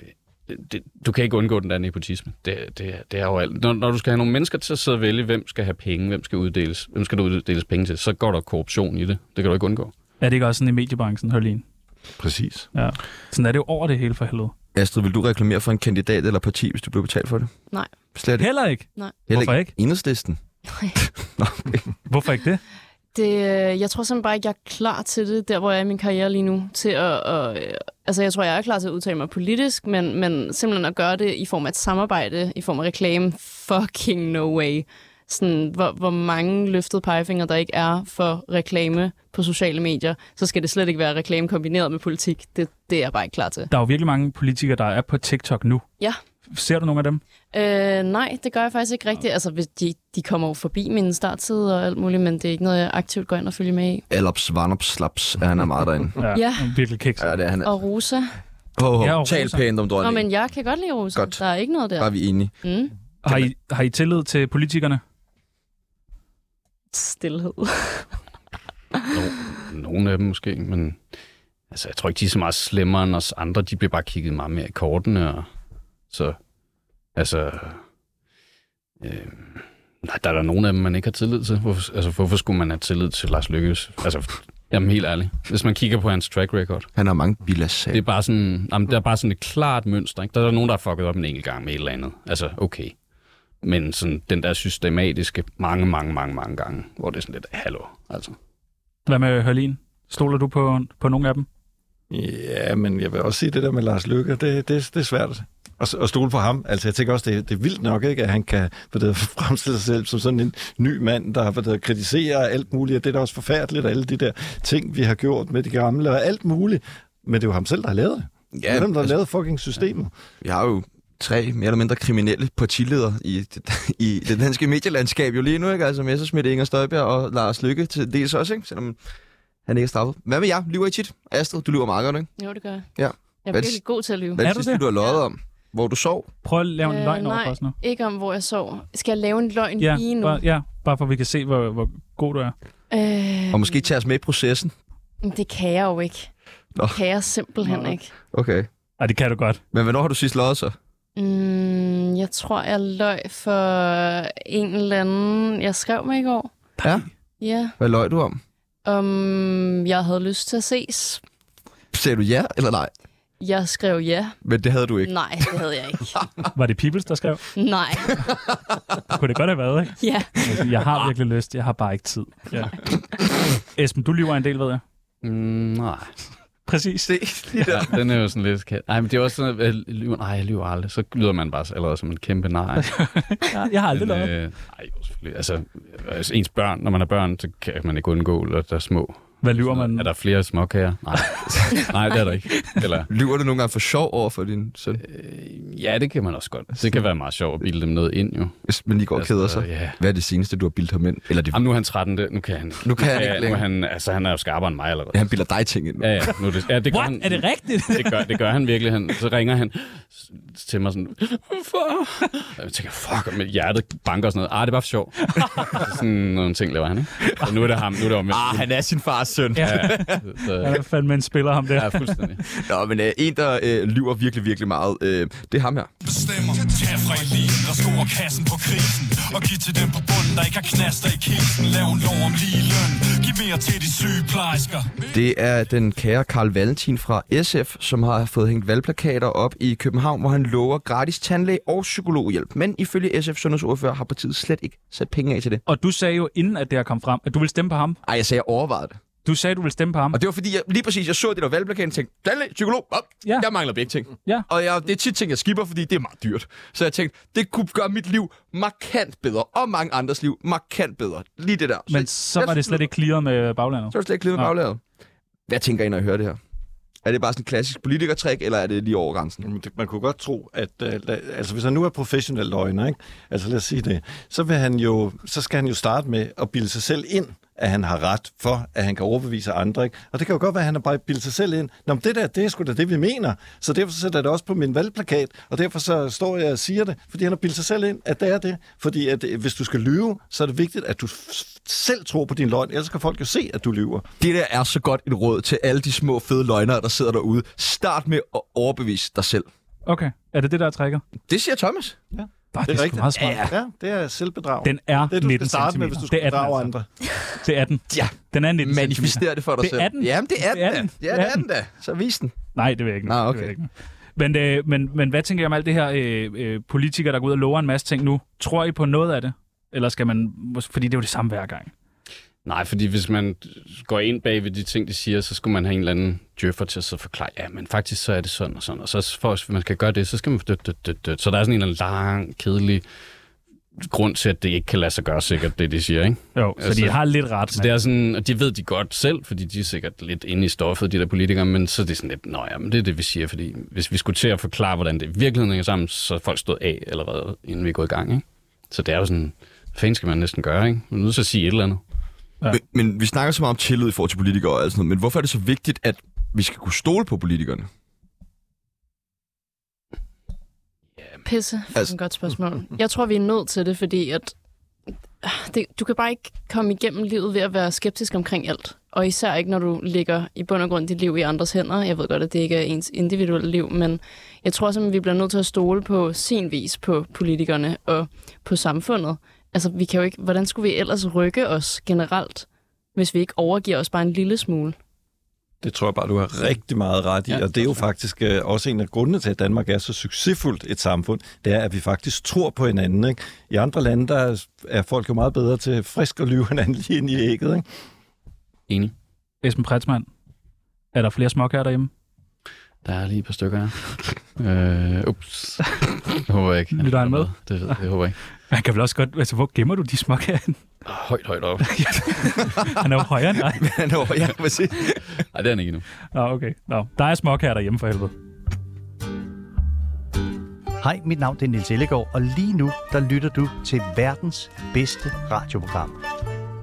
Speaker 5: det, du kan ikke undgå den der nepotisme. Det, det, er- det er jo alt. Når, når du skal have nogle mennesker til at sidde og vælge, hvem skal have penge, hvem skal, uddeles, hvem skal du uddeles penge til, så går der korruption i det. Det kan du ikke undgå.
Speaker 2: Er det ikke også sådan i mediebranchen, Hørlin?
Speaker 4: Præcis.
Speaker 2: Ja. Sådan er det jo over det hele for helvede.
Speaker 8: Astrid, vil du reklamere for en kandidat eller parti, hvis du blev betalt for det?
Speaker 3: Nej.
Speaker 8: Slet ikke.
Speaker 2: Heller ikke.
Speaker 8: Heller
Speaker 2: Hvorfor ikke?
Speaker 8: Enhedslisten.
Speaker 2: Hvorfor ikke det?
Speaker 3: Det, øh, jeg tror simpelthen bare ikke, jeg er klar til det, der hvor jeg er i min karriere lige nu. Til at, at, øh, altså, jeg tror, jeg er klar til at udtale mig politisk, men, men simpelthen at gøre det i form af et samarbejde, i form af reklame, fucking no way. Sådan, hvor, hvor mange løftede pegefinger der ikke er for reklame på sociale medier, så skal det slet ikke være reklame kombineret med politik. Det, det er jeg bare ikke klar til.
Speaker 2: Der er jo virkelig mange politikere, der er på TikTok nu.
Speaker 3: Ja.
Speaker 2: Ser du nogle af dem?
Speaker 3: Øh, nej, det gør jeg faktisk ikke rigtigt. Altså, hvis de, de kommer jo forbi min starttid og alt muligt, men det er ikke noget, jeg aktivt går ind og følger med i.
Speaker 8: Alops, Vanops, Slaps. Ja, han er meget derinde.
Speaker 3: Ja.
Speaker 2: Virkelig kiks.
Speaker 8: Ja, det er han.
Speaker 3: Og Rosa.
Speaker 8: Ho,
Speaker 2: Ja,
Speaker 8: ho.
Speaker 2: og
Speaker 8: Tal
Speaker 2: roser.
Speaker 8: pænt om
Speaker 3: Nå,
Speaker 8: dronningen.
Speaker 3: men jeg kan godt lide Rosa.
Speaker 8: Godt.
Speaker 3: Der er ikke noget der.
Speaker 8: Bare vi er enige.
Speaker 3: Mm.
Speaker 2: Har I, har I tillid til politikerne?
Speaker 3: Stilhed.
Speaker 5: Nogle af dem måske, men altså, jeg tror ikke, de er så meget slemmere end os andre. De bliver bare kigget meget mere i kortene, og så, altså, øh, nej, der er der nogle af dem, man ikke har tillid til. Hvorfor, altså, hvorfor skulle man have tillid til Lars Lykkes? Altså, jamen helt ærligt, hvis man kigger på hans track record,
Speaker 8: Han har mange bilasager.
Speaker 5: det er bare sådan, jamen, der er bare sådan et klart mønster, ikke? Der er der nogen, der har fucket op en enkelt gang med et eller andet. Altså, okay. Men sådan den der systematiske mange, mange, mange, mange gange, hvor det er sådan lidt, hallo, altså.
Speaker 2: Hvad med Hørlin? Stoler du på, på nogle af dem?
Speaker 4: Ja, men jeg vil også sige, det der med Lars Lykke, det, det, det er svært at, at stole på ham. Altså, jeg tænker også, det, det er vildt nok, ikke, at han kan hvad det, hedder, fremstille sig selv som sådan en ny mand, der hvad det, hedder, kritiserer alt muligt, og det er da også forfærdeligt, og alle de der ting, vi har gjort med de gamle, og alt muligt. Men det er jo ham selv, der har lavet det. Ja, det er dem,
Speaker 1: altså-
Speaker 4: der har lavet fucking systemet.
Speaker 8: altså, Vi har jo tre mere eller mindre kriminelle partiledere i, det- i det danske medielandskab jo lige nu, ikke? Altså Messerschmidt, Inger Støjberg og Lars Lykke til dels også, ikke? Selvom han ikke er straffet. Hvad med jer? Lyver I tit? Astrid, du lyver meget godt, ikke?
Speaker 3: Jo, det gør jeg.
Speaker 8: Ja.
Speaker 3: Jeg er
Speaker 8: Hvad-
Speaker 3: virkelig god til at lyve.
Speaker 8: Hvad er
Speaker 2: Er
Speaker 8: det
Speaker 2: du
Speaker 8: sidste,
Speaker 2: det?
Speaker 8: du har løjet om? Hvor du sov?
Speaker 2: Prøv at lave en
Speaker 3: Øh,
Speaker 2: løgn over
Speaker 3: nej.
Speaker 2: for os nu.
Speaker 3: Ikke om, hvor jeg sov. Skal jeg lave en løgn
Speaker 2: Ja,
Speaker 3: lige nu?
Speaker 2: bare, ja, bare for at vi kan se, hvor, hvor god du er.
Speaker 3: Øh,
Speaker 8: Og måske tage os med i processen?
Speaker 3: men det kan jeg jo ikke.
Speaker 8: Nå.
Speaker 3: Det kan jeg simpelthen
Speaker 2: Nå.
Speaker 3: ikke.
Speaker 8: Okay.
Speaker 2: Ej, det kan du godt.
Speaker 8: Men hvornår har du sidst løjet så?
Speaker 3: Mm, jeg tror, jeg løg for en eller anden, jeg skrev med i går.
Speaker 8: Ja.
Speaker 3: Ja,
Speaker 8: Hvad løj du om?
Speaker 3: om jeg havde lyst til at ses.
Speaker 8: Sagde du ja eller nej?
Speaker 3: Jeg skrev ja.
Speaker 8: Men det havde du ikke.
Speaker 3: Nej, det havde jeg ikke.
Speaker 2: Var det Peoples, der skrev?
Speaker 3: Nej,
Speaker 2: Kunne det godt have været, ikke?
Speaker 3: ja.
Speaker 2: Altså, Jeg har virkelig lyst, jeg har bare ikke tid. Ja. Esben, du lyver en del, ved jeg.
Speaker 5: Mm, nej.
Speaker 2: Præcis.
Speaker 5: Ja, den er jo sådan lidt... ka- Ej, men det er også sådan, at jeg lyver, nej, jeg lyver aldrig. Så lyder man bare allerede som en kæmpe nej.
Speaker 2: Jeg har aldrig
Speaker 5: Men,
Speaker 2: løjet.
Speaker 5: øh, nej, jo, selvfølgelig. Altså, altså, ens børn, når man er børn, så kan man ikke undgå, at der er små.
Speaker 2: Hvad lyver man?
Speaker 5: Er der flere småkager? Nej. Nej, det er der ikke. Eller,
Speaker 1: Lyver du nogle gange for sjov over for din søn,
Speaker 5: øh, ja, det kan man også godt. Det kan være meget sjovt at bilde dem noget ind, jo.
Speaker 1: hvis man lige går og keder sig?
Speaker 5: ja.
Speaker 1: Hvad er det seneste, du har bildt ham ind? Eller det,
Speaker 5: Jamen, nu er han 13, det, nu kan han
Speaker 1: nu kan han
Speaker 5: ja,
Speaker 1: ikke
Speaker 5: nu er
Speaker 1: længere.
Speaker 5: han, altså, han er jo skarpere end mig allerede.
Speaker 1: Ja, han bilder dig ting ind. nu.
Speaker 5: Ja, ja, nu er det, ja, det gør
Speaker 2: What?
Speaker 5: han.
Speaker 2: Er det rigtigt?
Speaker 5: det gør, det gør han virkelig. Han, så ringer han s- til mig sådan, far. Og jeg tænker, fuck, og mit hjertet banker og sådan noget. Ah, det var for sjov. Så sådan nogle ting laver han, ikke? Og nu er det ham, nu er det omvendt.
Speaker 1: Ah, han er sin fars søn.
Speaker 2: Ja,
Speaker 5: Så,
Speaker 2: han er fandme en spiller, ham der.
Speaker 5: ja, fuldstændig.
Speaker 1: Nå, men øh, en, der øh, lyver virkelig, virkelig meget, øh, det er ham her.
Speaker 9: bestemmer Tag fra eliten og score kassen på krisen Og giv til dem på bunden, der ikke har knaster i kisten Lav en lov om lige løn Giv mere til de sygeplejersker
Speaker 1: Det er den kære Karl Valentin fra SF, som har fået hængt valgplakater op i København, hvor han lover gratis tandlæge og psykologhjælp. Men ifølge SF sundhedsordfører har partiet slet ikke sat penge af til det.
Speaker 2: Og du sagde jo, inden at det her kom frem, at du ville stemme på ham.
Speaker 1: Ej, jeg sagde, jeg overvejede det.
Speaker 2: Du sagde, du ville stemme på ham.
Speaker 1: Og det var fordi, jeg, lige præcis, jeg så det der valgplakat og tænkte, tandlæge, psykolog, op,
Speaker 2: Ja.
Speaker 1: ja. jeg mangler begge ting.
Speaker 2: Ja.
Speaker 1: Og jeg, det er tit ting, jeg skipper, fordi det er meget dyrt. Så jeg tænkte, det kunne gøre mit liv markant bedre, og mange andres liv markant bedre. Lige det der.
Speaker 2: Men så
Speaker 1: jeg
Speaker 2: var det
Speaker 1: synes,
Speaker 2: slet ikke clear med baglandet.
Speaker 1: Så er det slet ikke klippet
Speaker 2: Nå.
Speaker 1: baglæret. Hvad tænker I, når I hører det her? Er det bare sådan en klassisk politikertræk, eller er det lige over grænsen?
Speaker 4: Jamen, det- Man kunne godt tro, at øh, la- altså, hvis han nu er professionel løgner, ikke? Altså, lad os sige det, så, vil han jo, så skal han jo starte med at bilde sig selv ind, at han har ret for, at han kan overbevise andre. Ikke? Og det kan jo godt være, at han har bare bildet sig selv ind. Nå, men det der, det er sgu da det, vi mener. Så derfor sætter jeg det også på min valgplakat, og derfor så står jeg og siger det, fordi han har bildet sig selv ind, at det er det. Fordi at, øh, hvis du skal lyve, så er det vigtigt, at du f- selv tror på din løgn, ellers kan folk jo se, at du lyver.
Speaker 1: Det der er så godt et råd til alle de små fede løgnere, der sidder derude. Start med at overbevise dig selv.
Speaker 2: Okay, er det det, der er trækker?
Speaker 1: Det siger Thomas.
Speaker 2: Bare, det,
Speaker 4: er
Speaker 2: er, det er
Speaker 4: rigtigt.
Speaker 2: meget smart.
Speaker 4: Ja, det er selvbedrag.
Speaker 2: Den er
Speaker 4: det, du
Speaker 2: 19
Speaker 4: skal starte
Speaker 2: cm.
Speaker 4: med, hvis du skal
Speaker 2: det er den,
Speaker 4: bedrage
Speaker 2: altså.
Speaker 4: andre.
Speaker 2: Det er den.
Speaker 1: Ja,
Speaker 2: Den er 19
Speaker 1: manifester det for dig
Speaker 2: Det
Speaker 1: selv.
Speaker 2: er den.
Speaker 1: Jamen, det er,
Speaker 2: Det er
Speaker 1: den.
Speaker 2: den.
Speaker 1: da. Ja,
Speaker 2: Det
Speaker 1: det
Speaker 2: er
Speaker 1: er den da. Så vis den.
Speaker 2: Nej, det vil jeg ikke.
Speaker 1: Nå,
Speaker 2: Det vil
Speaker 1: okay.
Speaker 2: jeg ikke. Men, øh, men, men hvad tænker jeg om alt det her øh, øh, politikere, der går ud og lover en masse ting nu? Tror I på noget af det? Eller skal man... Fordi det er jo det samme hver gang.
Speaker 5: Nej, fordi hvis man går ind bag ved de ting, de siger, så skulle man have en eller anden djøffer til at sidde og forklare, ja, men faktisk så er det sådan og sådan. Og så for, hvis man skal gøre det, så skal man... Død, død, død, død. Så der er sådan en eller anden lang, kedelig grund til, at det ikke kan lade sig gøre sikkert, det de siger, ikke?
Speaker 2: Jo, så
Speaker 5: Altså,
Speaker 2: de har lidt ret.
Speaker 5: Så det er sådan, og det ved de godt selv, fordi de er sikkert lidt inde i stoffet, de der politikere, men så er det sådan lidt, nå ja, men det er det, vi siger, fordi hvis vi skulle til at forklare, hvordan det i virkeligheden hænger sammen, så er folk stået af allerede, inden vi går i gang, ikke? Så det er jo sådan, hvad fanden skal man næsten gøre, ikke? Man er nødt til at sige et eller andet.
Speaker 2: Ja.
Speaker 1: Men, men vi snakker så meget om tillid i forhold til politikere og alt sådan noget. Men hvorfor er det så vigtigt, at vi skal kunne stole på politikerne?
Speaker 3: Pisse, altså...
Speaker 1: Altså-
Speaker 3: et godt spørgsmål. Jeg tror, vi er nødt til det, fordi at ah, det, du kan bare ikke komme igennem livet ved at være skeptisk omkring alt. Og især ikke, når du ligger i bund og grund dit liv i andres hænder. Jeg ved godt, at det ikke er ens individuelle liv, men jeg tror simpelthen, vi bliver nødt til at stole på sin vis på politikerne og på samfundet. Altså, vi kan jo ikke, hvordan skulle vi ellers rykke os generelt, hvis vi ikke overgiver os bare en lille smule?
Speaker 4: Det tror jeg bare, du har rigtig meget ret i, ja, og det er jo faktisk øh, også en af grundene til, at Danmark er så succesfuldt et samfund, det er, at vi faktisk tror på hinanden. Ikke? I andre lande, der er- er folk jo meget bedre til frisk at lyve hinanden lige ind i ægget. Ikke?
Speaker 5: Enig.
Speaker 2: Esben Pretzmann, er der flere småkager derhjemme?
Speaker 5: Der er lige et par stykker her. øh, ups. Det håber jeg ikke.
Speaker 2: Lytter han med?
Speaker 5: Det, ved jeg- det håber jeg ikke.
Speaker 2: Man kan vel også godt... Altså, hvor gemmer du de småkager?
Speaker 5: Højt, højt op.
Speaker 2: Han er jo højere end dig.
Speaker 1: Nå, ja, præcis.
Speaker 5: Nej, det er han ikke endnu.
Speaker 2: Nå, okay. Nå, der er småkager derhjemme for helvede.
Speaker 7: Hej, mit navn det er Nils Ellegaard, og lige nu der lytter du til verdens bedste radioprogram,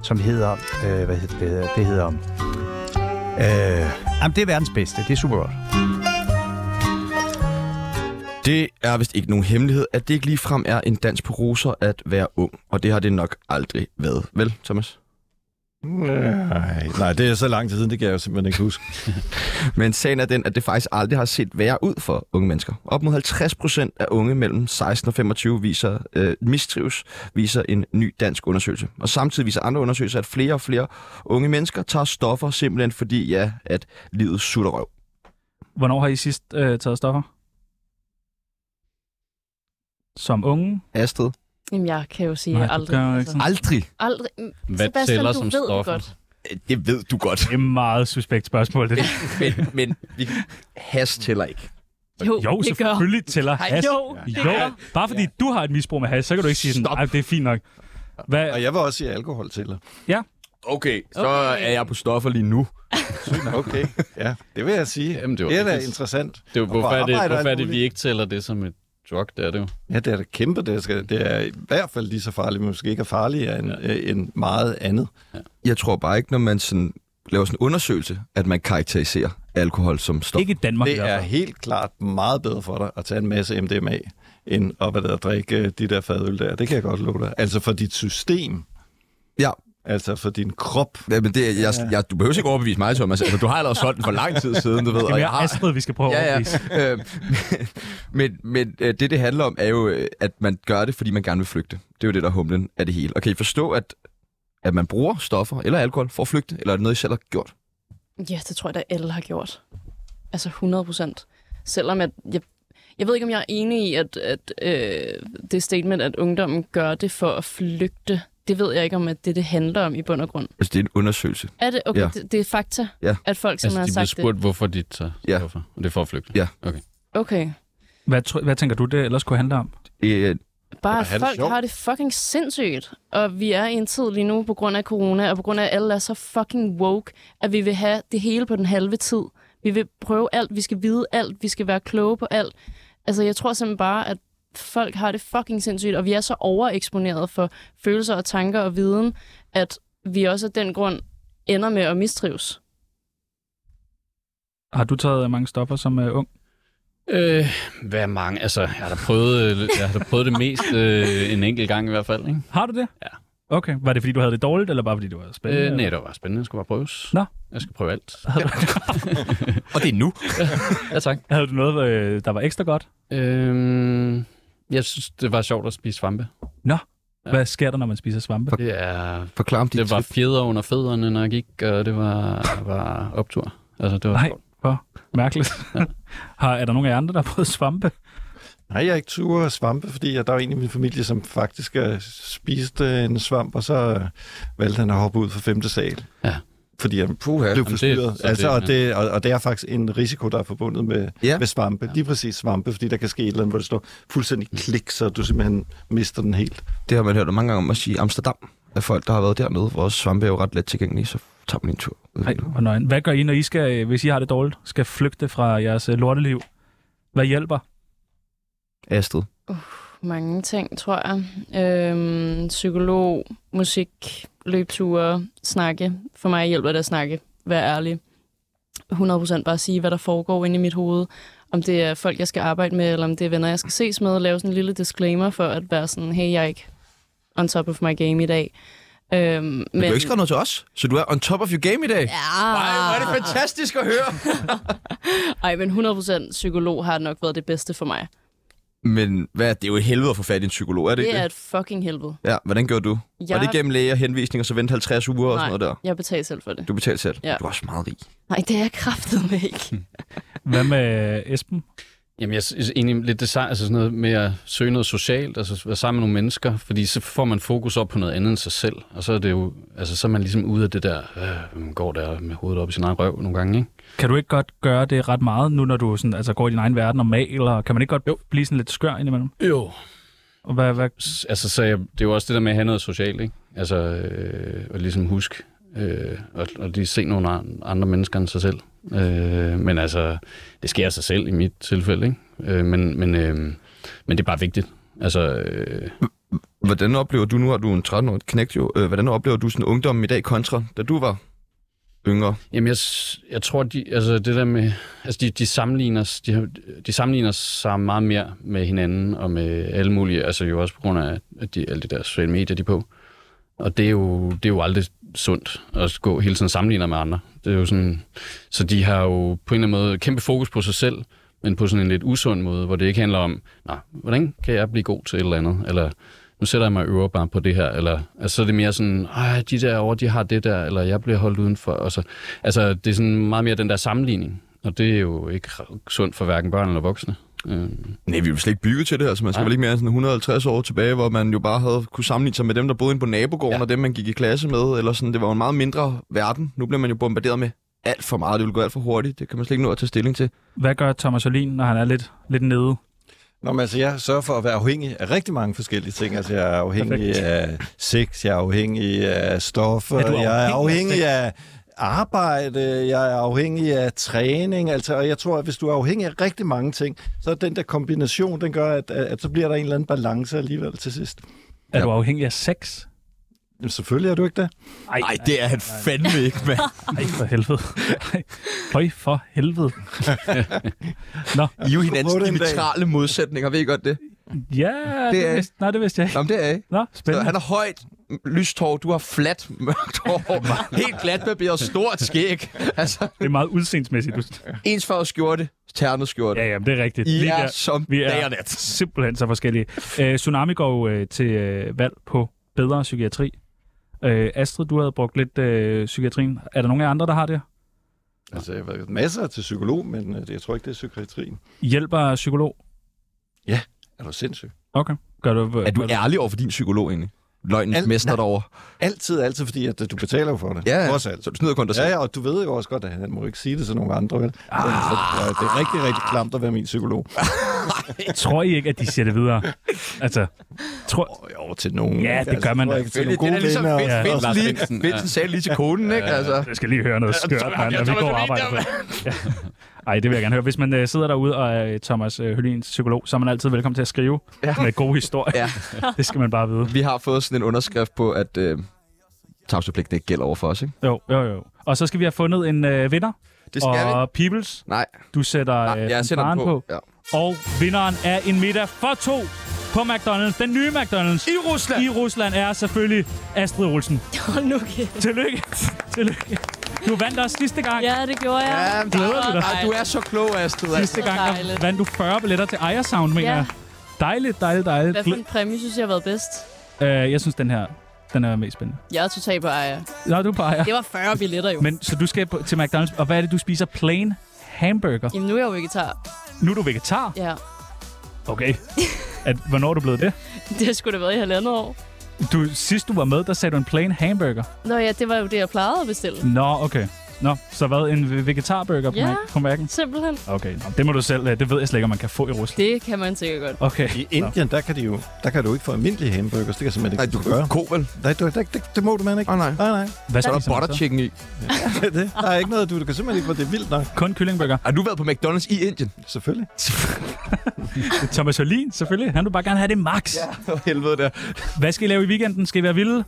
Speaker 7: som hedder... Øh, hvad hedder det? Det hedder... Øh, jamen, det er verdens bedste. Det er super godt.
Speaker 1: Det er vist ikke nogen hemmelighed, at det ikke ligefrem er en dans på roser at være ung. Og det har det nok aldrig været. Vel, Thomas?
Speaker 4: Nej, nej, det er så lang tid siden, det kan jeg jo simpelthen ikke huske.
Speaker 1: Men sagen er den, at det faktisk aldrig har set værre ud for unge mennesker. Op mod 50 procent af unge mellem 16 og 25 viser øh, mistrives, viser en ny dansk undersøgelse. Og samtidig viser andre undersøgelser, at flere og flere unge mennesker tager stoffer simpelthen fordi, ja, at livet sutter røv.
Speaker 2: Hvornår har I sidst øh, taget stoffer? Som unge?
Speaker 1: Astrid?
Speaker 3: Jamen, jeg kan jo sige
Speaker 2: Nej,
Speaker 3: Nej,
Speaker 2: du
Speaker 3: aldrig.
Speaker 2: gør jo ikke
Speaker 3: altså.
Speaker 2: sådan.
Speaker 1: Aldrig.
Speaker 3: aldrig.
Speaker 5: Hvad
Speaker 3: Sebastian,
Speaker 5: tæller
Speaker 3: du
Speaker 5: som
Speaker 3: ved det
Speaker 5: stoffer?
Speaker 3: godt.
Speaker 1: Øh, Det ved du godt.
Speaker 2: Det er et meget suspekt spørgsmål, det der.
Speaker 1: Men, men vi has heller ikke.
Speaker 3: Jo,
Speaker 2: Jo,
Speaker 3: det gør.
Speaker 2: selvfølgelig tæller
Speaker 3: Ej,
Speaker 2: hash.
Speaker 3: jo, det
Speaker 2: jo. Bare fordi du har et misbrug med hash, så kan du ikke sige sådan,
Speaker 1: Stop.
Speaker 2: nej, det er fint nok. Hvad?
Speaker 4: Og jeg var også i alkohol til dig.
Speaker 1: Okay, så okay. er jeg på stoffer lige nu.
Speaker 4: okay, ja, det vil jeg sige.
Speaker 5: Jamen, det, var
Speaker 4: Det er da
Speaker 5: rigtigt.
Speaker 4: interessant.
Speaker 5: Det er jo,
Speaker 4: Og for
Speaker 5: hvorfor er det,
Speaker 4: arbejder
Speaker 5: hvorfor er
Speaker 4: alt
Speaker 5: det vi
Speaker 4: muligt.
Speaker 5: ikke tæller det som et drug, det er det jo.
Speaker 4: Ja, det er da kæmpe. Det, skal, det er i hvert fald lige så farligt, men måske ikke er farligere end, ja. end meget andet.
Speaker 1: Jeg tror bare ikke, når man sådan laver sådan en undersøgelse, at man karakteriserer alkohol som stof.
Speaker 2: Ikke i Danmark.
Speaker 4: Det er helt klart meget bedre for dig at tage en masse MDMA, end at hvad der, er, drikke øh, de der fadøl der. Det kan jeg godt love dig. Altså for dit system.
Speaker 1: Ja.
Speaker 4: Altså for din krop.
Speaker 1: Ja, men det, er- jeg, jeg, du behøver ikke overbevise mig, Thomas. Altså, du har allerede solgt den for lang tid siden, du ved.
Speaker 2: Det
Speaker 1: og
Speaker 2: er
Speaker 1: jeg
Speaker 2: mere
Speaker 1: har,
Speaker 2: Astrid, vi skal prøve at
Speaker 1: ja,
Speaker 2: overbevise.
Speaker 1: ja. Øh, men men øh, det, det handler om, er jo, øh, at man gør det, fordi man gerne vil flygte. Det er jo det, der er humlen af det hele. Og kan I forstå, at, at man bruger stoffer eller alkohol for at flygte, eller er det noget, I selv har gjort?
Speaker 3: Ja, det tror jeg da alle har gjort. Altså 100 procent. Selvom at jeg, jeg ved ikke, om jeg er enig i, at, at øh, det statement, at ungdommen gør det for at flygte, det ved jeg ikke om, at det det handler om i bund og grund.
Speaker 1: Altså, det er en undersøgelse.
Speaker 3: Er det, okay,
Speaker 1: Ja.
Speaker 3: ja. det, det er fakta,
Speaker 1: Ja.
Speaker 3: at folk som
Speaker 5: Altså,
Speaker 3: altså,
Speaker 5: de
Speaker 3: har
Speaker 5: bliver
Speaker 3: sagt spurgt...
Speaker 5: spurgt, hvorfor de tager
Speaker 1: Ja.
Speaker 5: stoffer. Og det er for at flygte.
Speaker 1: Ja.
Speaker 5: Okay.
Speaker 3: det. Okay,
Speaker 2: Hvad, tr- hvad tænker du, det ellers kunne handle om?
Speaker 1: Øh,
Speaker 3: bare
Speaker 4: at have
Speaker 3: at
Speaker 4: det
Speaker 3: folk
Speaker 4: sjovt.
Speaker 3: har det fucking sindssygt. Og vi er i en tid lige nu på grund af corona, og på grund af, at alle er så fucking woke, at vi vil have det hele på den halve tid. Vi vil prøve alt, vi skal vide alt, vi skal være kloge på alt. Altså, jeg tror simpelthen bare, at folk har det fucking sindssygt, og vi er så overeksponeret for følelser og tanker og viden, at vi også af den grund ender med at mistrives.
Speaker 2: Har du taget mange stoffer som uh, ung?
Speaker 5: Øh, hvad er mange? Altså, jeg har da prøvet, øh, jeg har da prøvet det mest øh, en enkelt gang i hvert fald, ikke?
Speaker 2: Har du det?
Speaker 5: Ja.
Speaker 2: Okay. Var det, fordi du havde det dårligt, eller bare fordi du var spændende?
Speaker 5: Øh, nej, det var bare spændende. Jeg skulle bare prøves.
Speaker 2: Nå.
Speaker 5: Jeg skal prøve alt.
Speaker 1: og det er nu.
Speaker 5: Ja, tak.
Speaker 2: Havde du noget, øh, der var ekstra godt?
Speaker 5: Øhm, jeg synes, det var sjovt at spise svampe.
Speaker 2: Ja. Hvad sker der, når man spiser svampe?
Speaker 5: Det, er,
Speaker 1: Forklar om dit
Speaker 5: det var
Speaker 1: tip.
Speaker 5: fjeder under fødderne, når jeg gik, og det var, var optur. Altså, det var
Speaker 2: Nej.
Speaker 5: sjovt.
Speaker 2: Mærkeligt. har, er der nogen af jer andre, der har prøvet svampe?
Speaker 4: Nej, jeg er ikke tur svampe, fordi jeg, der er en i min familie, som faktisk øh, spiste øh, en svamp, og så øh, valgte han at hoppe ud fra femte sal.
Speaker 5: Ja.
Speaker 4: Fordi han
Speaker 1: Puha.
Speaker 4: blev
Speaker 5: det-
Speaker 4: forstyrret.
Speaker 5: så
Speaker 4: Altså,
Speaker 5: det-
Speaker 4: og, det, og, og det er faktisk en risiko, der er forbundet med,
Speaker 1: Ja.
Speaker 4: ja. med svampe. Lige præcis svampe, fordi der kan ske et eller andet, hvor det står fuldstændig klik, så du simpelthen mister den helt.
Speaker 1: Det har man hørt mange gange om at sige Amsterdam, af folk, der har været dernede, hvor svampe er jo ret let tilgængelige, så tager man en tur. øh,
Speaker 2: Nej, hvor nøgen. Hvad gør I, når I skal, øh, hvis I har det dårligt, skal flygte fra jeres øh, lorteliv? Hvad hjælper?
Speaker 1: Astrid.
Speaker 3: Mange ting, tror jeg. Øhm, psykolog, musik, løbeture, snakke. For mig hjælper det at snakke. Vær ærlig. 100% bare sige, hvad der foregår inde i mit hoved. Om det er folk, jeg skal arbejde med, eller om det er venner, jeg skal ses med. Lave sådan en lille disclaimer for at være sådan, hey, jeg er ikke on top of my game i dag. Øhm, men,
Speaker 1: Men du har ikke skrevet noget til os, så du er on top of your game i dag.
Speaker 3: Ja.
Speaker 1: Ej, hvor er det fantastisk at høre.
Speaker 3: Ej, men 100% psykolog har nok været det bedste for mig.
Speaker 1: Men hvad, det er jo et helvede at få fat i en psykolog, er det,
Speaker 3: Det
Speaker 1: ikke
Speaker 3: er et fucking helvede.
Speaker 1: Ja, hvordan gjorde du? Jeg... Var det
Speaker 3: Jeg-
Speaker 1: gennem læger, henvisninger, så vente 50 uger og
Speaker 3: Nej.
Speaker 1: sådan noget der?
Speaker 3: Jeg betaler selv for det.
Speaker 1: Du betalte selv.
Speaker 3: Ja.
Speaker 1: Du er også meget rig.
Speaker 3: Nej, det er jeg kraftedeme ikke.
Speaker 1: Hmm.
Speaker 2: Hvad med øh, Esben?
Speaker 5: Jamen, jeg synes egentlig lidt det sej- altså sådan noget med at søge noget socialt, altså være sammen med nogle mennesker, fordi så får man fokus op på noget andet end sig selv, og så er det jo, altså så er man ligesom ude af det der, øh, man går der med hovedet op i sin egen røv nogle gange, ikke?
Speaker 2: Kan du ikke godt gøre det ret meget, nu når du sådan, altså, går i din egen verden og maler? Kan man ikke godt jo.
Speaker 5: Jo.
Speaker 2: blive sådan lidt skør indimellem?
Speaker 5: Jo.
Speaker 2: Og hvad, hvad,
Speaker 5: S- Altså, så jeg, det er jo også det der med at have noget socialt, ikke? Altså, øh, og ligesom huske, øh, og, og lige se nogle an- andre mennesker end sig selv. Øh, men altså, det sker af sig selv i mit tilfælde, ikke? Øh, men, men, øh, men det er bare vigtigt. Altså, øh,
Speaker 1: Hvordan oplever du nu, har du en 13-årig knægt jo, øh, hvordan oplever du sådan ungdommen i dag kontra, da du var yngre?
Speaker 5: Jamen, jeg, s- jeg tror, de, altså det der med, altså de, de sammenligner, s- de, har- de sammenligner sig meget mere med hinanden og med alle mulige, altså jo også på grund af at de, alle de der sociale medier, de er på. Og det er jo, det er jo aldrig sundt at gå hele tiden sammenligner med andre. Det er jo sådan, så de har jo på en eller anden måde kæmpe fokus på sig selv, men på sådan en lidt usund måde, hvor det ikke handler om, nej, hvordan kan jeg blive god til et eller andet, eller nu sætter jeg mig og øver bare på det her, eller altså, så er det mere sådan, ej, de derovre, de har det der, eller jeg bliver holdt udenfor, og så, altså, det er sådan meget mere den der sammenligning, og det er jo ikke r- sundt for hverken børn eller voksne. Øh,
Speaker 1: Nej, vi er jo slet ikke bygget til det, altså man skal
Speaker 5: Nej.
Speaker 1: vel ikke mere end sådan 150 år tilbage, hvor man jo bare havde kunne sammenligne sig med dem, der boede inde på nabogården, ja.
Speaker 5: Ja.
Speaker 1: og dem, man gik i klasse med, eller sådan, det var jo en meget mindre verden. Nu bliver man jo bombarderet med alt for meget, det vil gå alt for hurtigt, det kan man slet ikke nå at tage stilling til.
Speaker 2: hvad gør Thomas Olin, når han er lidt, lidt nede?
Speaker 4: Nå, men altså, jeg sørger for at være afhængig af rigtig mange forskellige ting. Altså, jeg er afhængig af sex, jeg er afhængig af stoffer,
Speaker 10: Ja, du er
Speaker 4: jeg er
Speaker 10: afhængig
Speaker 4: afhængig af arbejde, jeg er afhængig af træning, altså, og jeg tror, at hvis du er afhængig af rigtig mange ting, så er den der kombination, den gør, at, at, at så bliver der en eller anden balance alligevel til sidst.
Speaker 2: Er du afhængig af sex?
Speaker 4: Jamen, selvfølgelig er du ikke det.
Speaker 2: Nej,
Speaker 4: det er han fandme ikke, mand.
Speaker 2: Ej, for helvede. Ej, Høj for helvede. Nå.
Speaker 1: I er jo hinandens diametrale modsætninger, ved I godt det?
Speaker 2: Ja, det,
Speaker 1: er I.
Speaker 2: det vidste, nej, det vidste jeg ikke.
Speaker 1: Nå, men det er I.
Speaker 2: Nå, spændende.
Speaker 1: Så han har højt m- lyst hår, du har flat mørkt hår, helt glatbarberet, stort skæg. Altså.
Speaker 2: Det er meget udseendsmæssigt.
Speaker 1: Ens farve skjorte, ternet skjorte.
Speaker 2: Ja, jamen, det er rigtigt.
Speaker 1: I
Speaker 2: Vi
Speaker 1: er
Speaker 2: er-
Speaker 1: som
Speaker 2: vi er
Speaker 1: dag og nat.
Speaker 2: simpelthen så forskellige. Øh, tsunami går jo øh, til øh, valg på bedre psykiatri. Øh, Astrid, du havde brugt lidt øh, psykiatrien. Er der nogen af jer andre, der har det?
Speaker 4: Altså, jeg har været masser til psykolog, men øh, jeg tror ikke, det er psykiatrien.
Speaker 2: Hjælper psykolog?
Speaker 4: Ja, er du sindssyg?
Speaker 2: Okay. Gør du,
Speaker 1: Er du ærlig over for din psykolog egentlig? Løgnens
Speaker 4: Al-
Speaker 1: mester
Speaker 4: nej.
Speaker 1: derovre.
Speaker 4: Altid, altid, fordi at, øh, du betaler jo for det.
Speaker 1: Ja, ja.
Speaker 4: Trods alt.
Speaker 1: Så du snyder kun dig selv.
Speaker 4: Ja, ja, og du ved jo også godt, at han må ikke sige det til nogen andre, vel? Ah. Så, ja, det er rigtig, rigtig klamt at være min psykolog.
Speaker 2: Tror I ikke, at de siger det videre? Altså, tror...
Speaker 4: Jo, til nogen.
Speaker 2: Ja, det gør man.
Speaker 4: tror jeg, til nogle gode venner. Altså,
Speaker 1: Vinds-
Speaker 2: Ja.
Speaker 1: Vinds lige- Vindsen sagde lige til konen, ikke? Altså.
Speaker 2: Jeg skal lige høre noget
Speaker 1: Ja,
Speaker 2: skørt,
Speaker 1: Thomas-
Speaker 2: mand,
Speaker 1: ja,
Speaker 2: og vi
Speaker 1: Thomas
Speaker 2: går og
Speaker 1: Helin,
Speaker 2: arbejder på
Speaker 1: der-
Speaker 2: det. Ja. Ej, det vil jeg gerne høre. Hvis man øh, sidder derude og er øh, Thomas øh, Hølins psykolog, så er man altid velkommen til at skrive ja. med gode historier. Ja. Det skal man bare vide.
Speaker 1: Vi har fået sådan en underskrift på, at øh, tavshedspligten ikke gælder over for os, ikke?
Speaker 2: Jo, jo, jo. Og så skal vi have fundet en øh, vinder.
Speaker 1: Det skal
Speaker 2: og vi. Peoples,
Speaker 1: Nej.
Speaker 2: du sætter øh,
Speaker 1: jeg
Speaker 2: den
Speaker 1: sætter den
Speaker 2: varen
Speaker 1: på, ja.
Speaker 2: Og vinderen af en middag for to på McDonald's. Den nye McDonald's. I Rusland. I Rusland er selvfølgelig Astrid Olsen.
Speaker 3: Hold nu kæft.
Speaker 2: Tillykke. Tillykke. Du vandt også sidste gang.
Speaker 3: Ja, det gjorde jeg.
Speaker 2: Ja, men det Glæder var vi dig? dejligt.
Speaker 1: Du er så klog, Astrid.
Speaker 2: Sidste
Speaker 3: Så
Speaker 2: gang der
Speaker 3: dejligt.
Speaker 2: vandt du 40 billetter til Ejersound, mener
Speaker 3: Ja.
Speaker 2: jeg. Dejligt, dejligt, dejligt.
Speaker 3: Hvad for en præmie synes jeg har været bedst?
Speaker 2: Øh, jeg synes, den her den er mest spændende.
Speaker 3: Jeg er totalt på Aja.
Speaker 2: Nå, du er på Ejer.
Speaker 3: Det var 40 billetter jo.
Speaker 2: Men, så du skal på, til McDonald's, og hvad er det, du spiser? Plain hamburger?
Speaker 3: Jamen, nu er jeg jo vegetar.
Speaker 2: Nu er du vegetar?
Speaker 3: Ja.
Speaker 2: Okay. At, hvornår er du blevet det?
Speaker 3: Det har sgu da været i halvandet år.
Speaker 2: Du, sidst du var med, der sagde du en plain hamburger.
Speaker 3: Nå ja, det var jo det, jeg plejede at bestille.
Speaker 2: Nå, okay. Nå, så hvad? En ve- vegetarburger på,
Speaker 3: Ja.
Speaker 2: Mac- på Mac'en?
Speaker 3: Simpelthen.
Speaker 2: Okay, nå, det må du selv. øh, Det ved jeg slet ikke, om man kan få i Rusland.
Speaker 3: Det kan man sikkert godt.
Speaker 2: Okay.
Speaker 4: I Indien, der kan, de jo, der kan du ikke få almindelige hamburgers. Det kan simpelthen ikke
Speaker 1: Nej, du kan
Speaker 4: gøre.
Speaker 1: få kobel.
Speaker 4: Nej, du, det, det, det, må du man ikke.
Speaker 1: Åh, nej.
Speaker 4: nej, nej.
Speaker 2: Hvad
Speaker 1: så er der butter chicken i?
Speaker 4: Det er det. Der er ikke noget, du, du kan simpelthen ikke få det er vildt nok.
Speaker 2: Kun kyllingburger.
Speaker 1: Har du været på McDonald's i Indien?
Speaker 4: Selvfølgelig.
Speaker 2: Thomas Hølin, selvfølgelig. Han vil bare gerne have det max. Ja,
Speaker 1: for helvede der.
Speaker 2: Hvad skal I lave i weekenden? Skal I være vilde?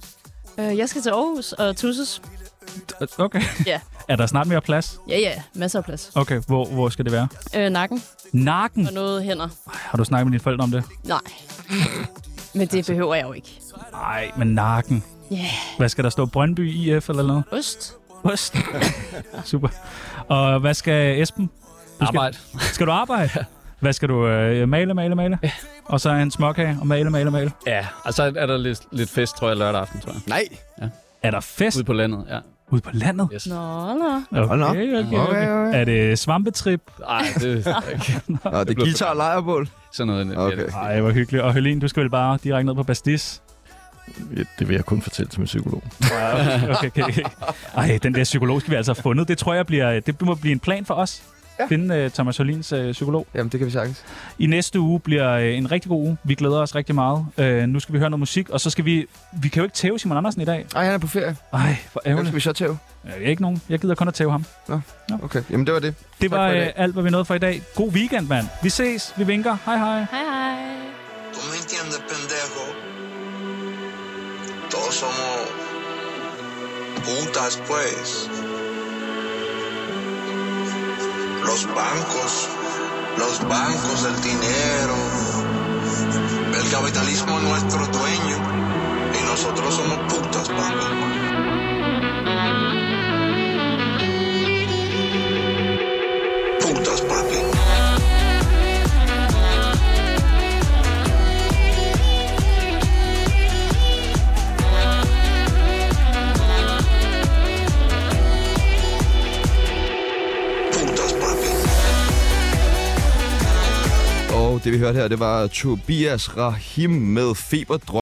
Speaker 3: Øh, jeg skal til Aarhus og Tusses.
Speaker 2: Okay.
Speaker 3: Ja.
Speaker 2: Er der snart mere plads?
Speaker 3: Ja, ja. Masser af plads.
Speaker 2: Okay, hvor, hvor skal det være?
Speaker 3: Øh, nakken.
Speaker 2: Nakken.
Speaker 3: Og noget hænder.
Speaker 2: Har du snakket med dine forældre om det?
Speaker 3: Nej. Men det behøver jeg jo ikke.
Speaker 2: Nej, men nakken.
Speaker 3: Ja. Yeah.
Speaker 2: Hvad skal der stå? Brøndby IF eller noget?
Speaker 3: Ost.
Speaker 2: Ost. Super. Og hvad skal Esben? Du
Speaker 5: Arbejde.
Speaker 2: Skal, skal du arbejde? Hvad skal du øh, male, male, male? Og så en småkage og male, male, male.
Speaker 5: Ja, og så er der lidt, lidt fest, tror jeg, lørdag aften, tror jeg.
Speaker 1: Nej!
Speaker 5: Ja.
Speaker 2: Er der fest?
Speaker 5: Ude på landet, ja.
Speaker 2: Ude på landet?
Speaker 5: Yes.
Speaker 3: Nå, nå.
Speaker 2: Okay, okay, okay.
Speaker 5: Okay, okay.
Speaker 2: Er det svampetrip?
Speaker 5: Nej, det er ikke.
Speaker 1: Nå, det er guitar og lejrebål.
Speaker 5: Sådan noget.
Speaker 1: Okay.
Speaker 2: Ej, hvor hyggeligt. Og Helene, du skal vel bare direkte ned på Bastis?
Speaker 4: Ja, Det vil jeg kun fortælle til min psykolog.
Speaker 2: Okay, okay, okay. Ej, den der psykolog skal vi altså have fundet. Det tror jeg bliver, det må blive en plan for os. Ja. Finde uh, Thomas Hølins uh, psykolog.
Speaker 1: Jamen, det kan vi sagtens.
Speaker 2: I næste uge bliver uh, en rigtig god uge. Vi glæder os rigtig meget. Uh, nu skal vi høre noget musik, og så skal vi... Vi kan jo ikke tæve Simon Andersen i dag.
Speaker 1: Nej, han er på ferie.
Speaker 2: Ej, hvor
Speaker 1: Hvem
Speaker 2: ærgerligt.
Speaker 1: skal vi så tæve?
Speaker 2: Jeg er ikke nogen. Jeg gider kun at tæve ham.
Speaker 1: Nå, okay. Jamen, det var det.
Speaker 2: Det
Speaker 1: Tak
Speaker 2: var
Speaker 1: for i
Speaker 2: uh,
Speaker 1: dag.
Speaker 2: alt, hvad vi nåede for i dag. God weekend, mand. Vi ses. Vi vinker. Hej, hej.
Speaker 3: Hej, hej.
Speaker 11: Tú me entiendes, pendejo. Todos somos putas, pues. Los bancos, los bancos, el dinero. El capitalismo es nuestro dueño. Y nosotros somos putas, papi. Putas, papi.
Speaker 1: Og det vi hørte her, det var Tobias Rahim med Feberdrøm.